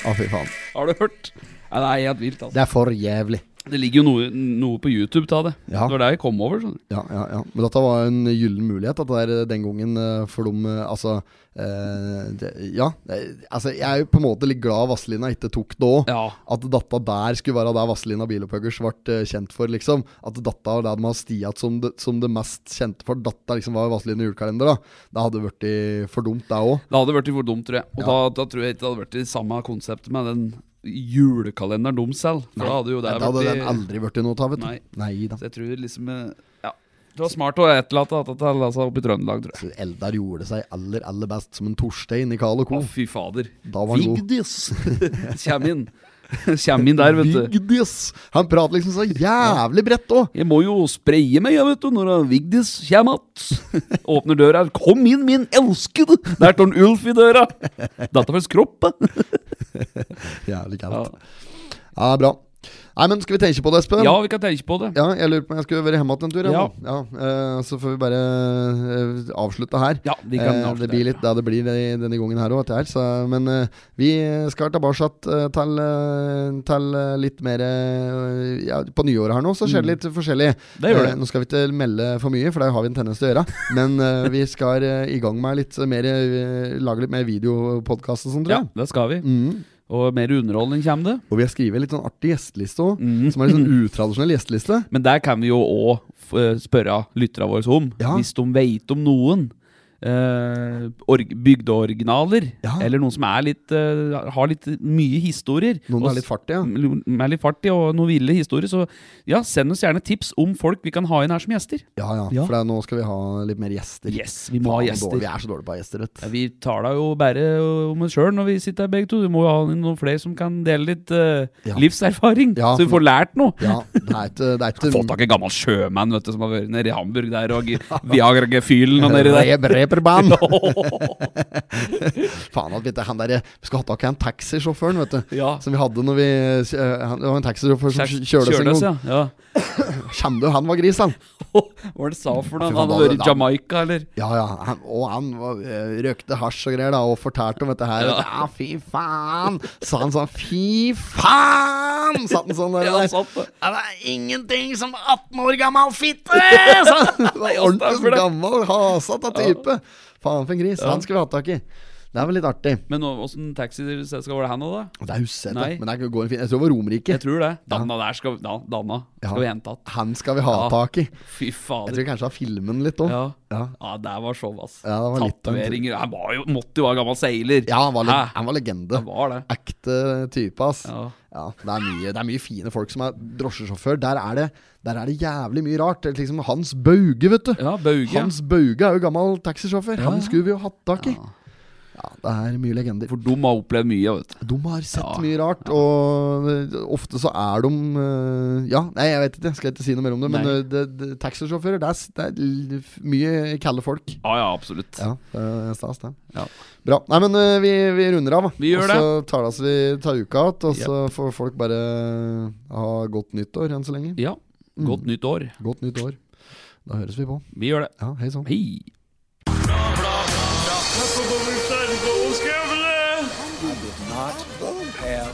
S1: Å, fy faen.
S2: Har du hørt? Ja, det er helt vilt, altså.
S1: Det er for jævlig.
S2: Det ligger jo noe, noe på YouTube av det.
S1: Ja.
S2: Det var der jeg kom over. Sånn.
S1: Ja, ja, ja. Men dette var en gyllen mulighet at det der, den gangen eh, for dem eh, Altså eh, det, Ja. det- Altså, jeg er jo på en måte litt glad Vazelina ikke tok det òg.
S2: Ja.
S1: At dette der skulle være det Vazelina Bilopphuggers ble eh, kjent for, liksom. At dette var det de har stiat som det, som det mest kjente for. Dette liksom var Vazelina julekalender, da. Det hadde blitt for dumt, det òg.
S2: Det hadde blitt for dumt, tror jeg. Og da, da tror jeg ikke det hadde vært det samme konseptet med den julekalenderen de selv. For da hadde jo det
S1: Da hadde
S2: vært-
S1: den aldri blitt noe av, vet du.
S2: Nei.
S1: Nei da.
S2: Så jeg tror liksom eh, Ja. Det var smart å etterlate at det la seg opp altså, i Trøndelag, tror jeg.
S1: Eldar gjorde seg aller, aller best som en Torstein i Carl
S2: Å,
S1: Co.
S2: fy fader.
S1: Da var han god.
S2: Vigdis! Kjem inn. Kjem inn der, vet du.
S1: Vigdis! Han prater liksom så jævlig bredt òg.
S2: Jeg må jo spreie meg, jeg, vet du, når han Vigdis kjem att. Åpner døra. Kom inn, min elskede! Der står en Ulf i døra! Dette var skroppet.
S1: Jævlig
S2: Ja.
S1: kaldt. Ja, det er bra. Nei, men skal vi tenke på det, Espen?
S2: ja, vi kan tenke på det.
S1: Ja, jeg lurer på om jeg skulle være hjemme igjen en tur. jeg,
S2: Ja.
S1: nå. ja eh, så får vi bare eh, avslutte her.
S2: Ja, vi kan
S1: Eh,
S2: avslutte
S1: det blir
S2: her.
S1: litt det det blir i denne gangen her òg, dette her. Så, men eh, vi skal tilbake eh, til, eh, til eh, litt mer eh, ja, På nyåret her nå så skjer det
S2: Mm.
S1: litt forskjellig.
S2: Det gjør det.
S1: Eh, nå skal vi ikke melde for mye, for det har vi en tendens til å gjøre. Men eh, vi skal eh, i gang med litt mer eh, lage litt mer videopodkast og sånn, tror
S2: Ja,
S1: jeg.
S2: det skal vi.
S1: Mm.
S2: Og mer underholdning kommer det.
S1: Og vi har skrevet litt sånn artig gjesteliste òg,
S2: Mm.
S1: som er litt sånn utradisjonell gjesteliste.
S2: Men der kan vi jo òg spørre lytterne våre om,
S1: Ja.
S2: hvis de veit om noen. eh, org bygdeoriginaler,
S1: Ja.
S2: eller noen som er litt, eh, har litt mye historier.
S1: Noen
S2: og
S1: er litt fartige, ja.
S2: s- Mm. Med litt fart i og noen ville historier. Så ja, send oss gjerne tips om folk vi kan ha inn her som gjester.
S1: Ja, ja,
S2: Ja.
S1: for det er, nå skal vi ha litt mer gjester.
S2: Yes, vi må ha
S1: Faen, hvor
S2: gjester.
S1: dårlig- Vi er så dårlige på å ha gjester, vet
S2: Ja,
S1: du.
S2: Vi tar da jo bare eh, om oss sjøl når vi sitter her begge to. Vi må jo ha inn noen flere som kan dele litt eh,
S1: Ja.
S2: livserfaring,
S1: Ja,
S2: så vi
S1: for-
S2: får lært noe.
S1: Ja, det er ikke det er ikke-
S2: Fått tak i en gammel sjømann vet du, som har vært nede i Hamburg der, og Viagra Gefühlen og nedi der.
S1: Rep- Reperbanen!
S2: Åh,
S1: Faen at vi ikke han der Vi skulle hatt tak i han taxisjåføren, vet du.
S2: Ja.
S1: Som vi hadde når vi eh, han- Det var en taxisjåfør som
S2: kjære-
S1: kjørte oss en
S2: Kjøles,
S1: gang.
S2: ja. ja.
S1: Kjem du, han var gris, han.
S2: Åh, Hva var det sa for noe?
S1: Fy faen,
S2: Han
S1: da
S2: hadde
S1: hadde-
S2: vært i Jamaica, eller?
S1: Ja, ja. Han, og han var, eh, røkte hasj og greier, da, og fortalte om dette her. Ja, ja fy faen! Sa han sånn. Fy faen! Satt han sånn der.
S2: Ja,
S1: der.
S2: han satt der.
S1: Ja, det er ingenting som 18 år gammel fitte! sa han. Det var Ordentlig
S2: stemmer
S1: sånn
S2: det.
S1: gammel, hasete type. Faen for en gris. Han skulle vi hatt tak i. Det er vel litt artig.
S2: Men nå- åssen taxiselskap var det han hadde? da?
S1: Det er huset,
S2: Nei.
S1: men det er- går en fin Jeg tror det var Romerike.
S2: Jeg tror det. Danna der skal, da, Danna skal vi hente att.
S1: Han skal vi ha
S2: Ja.
S1: tak i.
S2: Fy
S1: Jeg
S2: fader.
S1: tror kanskje jeg har filmen litt òg.
S2: Ja.
S1: Ja.
S2: ja, der var show, ass.
S1: Ja, det var litt-
S2: Tatoveringer. Han var jo, måtte jo være gammel seiler.
S1: Ja, han var,
S2: Hæ?
S1: leg han var legende.
S2: Han var det.
S1: Ekte type, ass. Ja.
S2: Ja.
S1: det, er mye, det er mye fine folk som er drosjesjåfør. Der er det, der er det jævlig mye rart. Det er Liksom Hans Bauge, vet du.
S2: Ja, Bauge.
S1: Hans Bauge er jo gammel taxisjåfør.
S2: Ja,
S1: Han
S2: ja.
S1: skulle vi jo hatt tak i. Ja, det er mye legender.
S2: For de har opplevd mye, vet du.
S1: De har sett
S2: Ja,
S1: mye rart, og eh, ofte så er de eh, Ja, nei, jeg vet ikke, jeg skal ikke si noe mer om det, men
S2: Nei.
S1: eh, det, det, taxisjåfører, det er, s- det er l- f- mye kalde folk.
S2: Ja, ja, absolutt.
S1: Ja, det er stas, det.
S2: Ja.
S1: Bra. Nei, men eh, vi, vi runder av, da.
S2: Vi gjør
S1: og så tar det oss vi tar uka igjen, og så får folk bare ha godt nyttår enn så lenge.
S2: Ja. Godt nytt år.
S1: Godt nytt år. Da høres vi på.
S2: Vi gjør det.
S1: Mm. Ja, hei sann.
S2: Hei.
S3: I did not have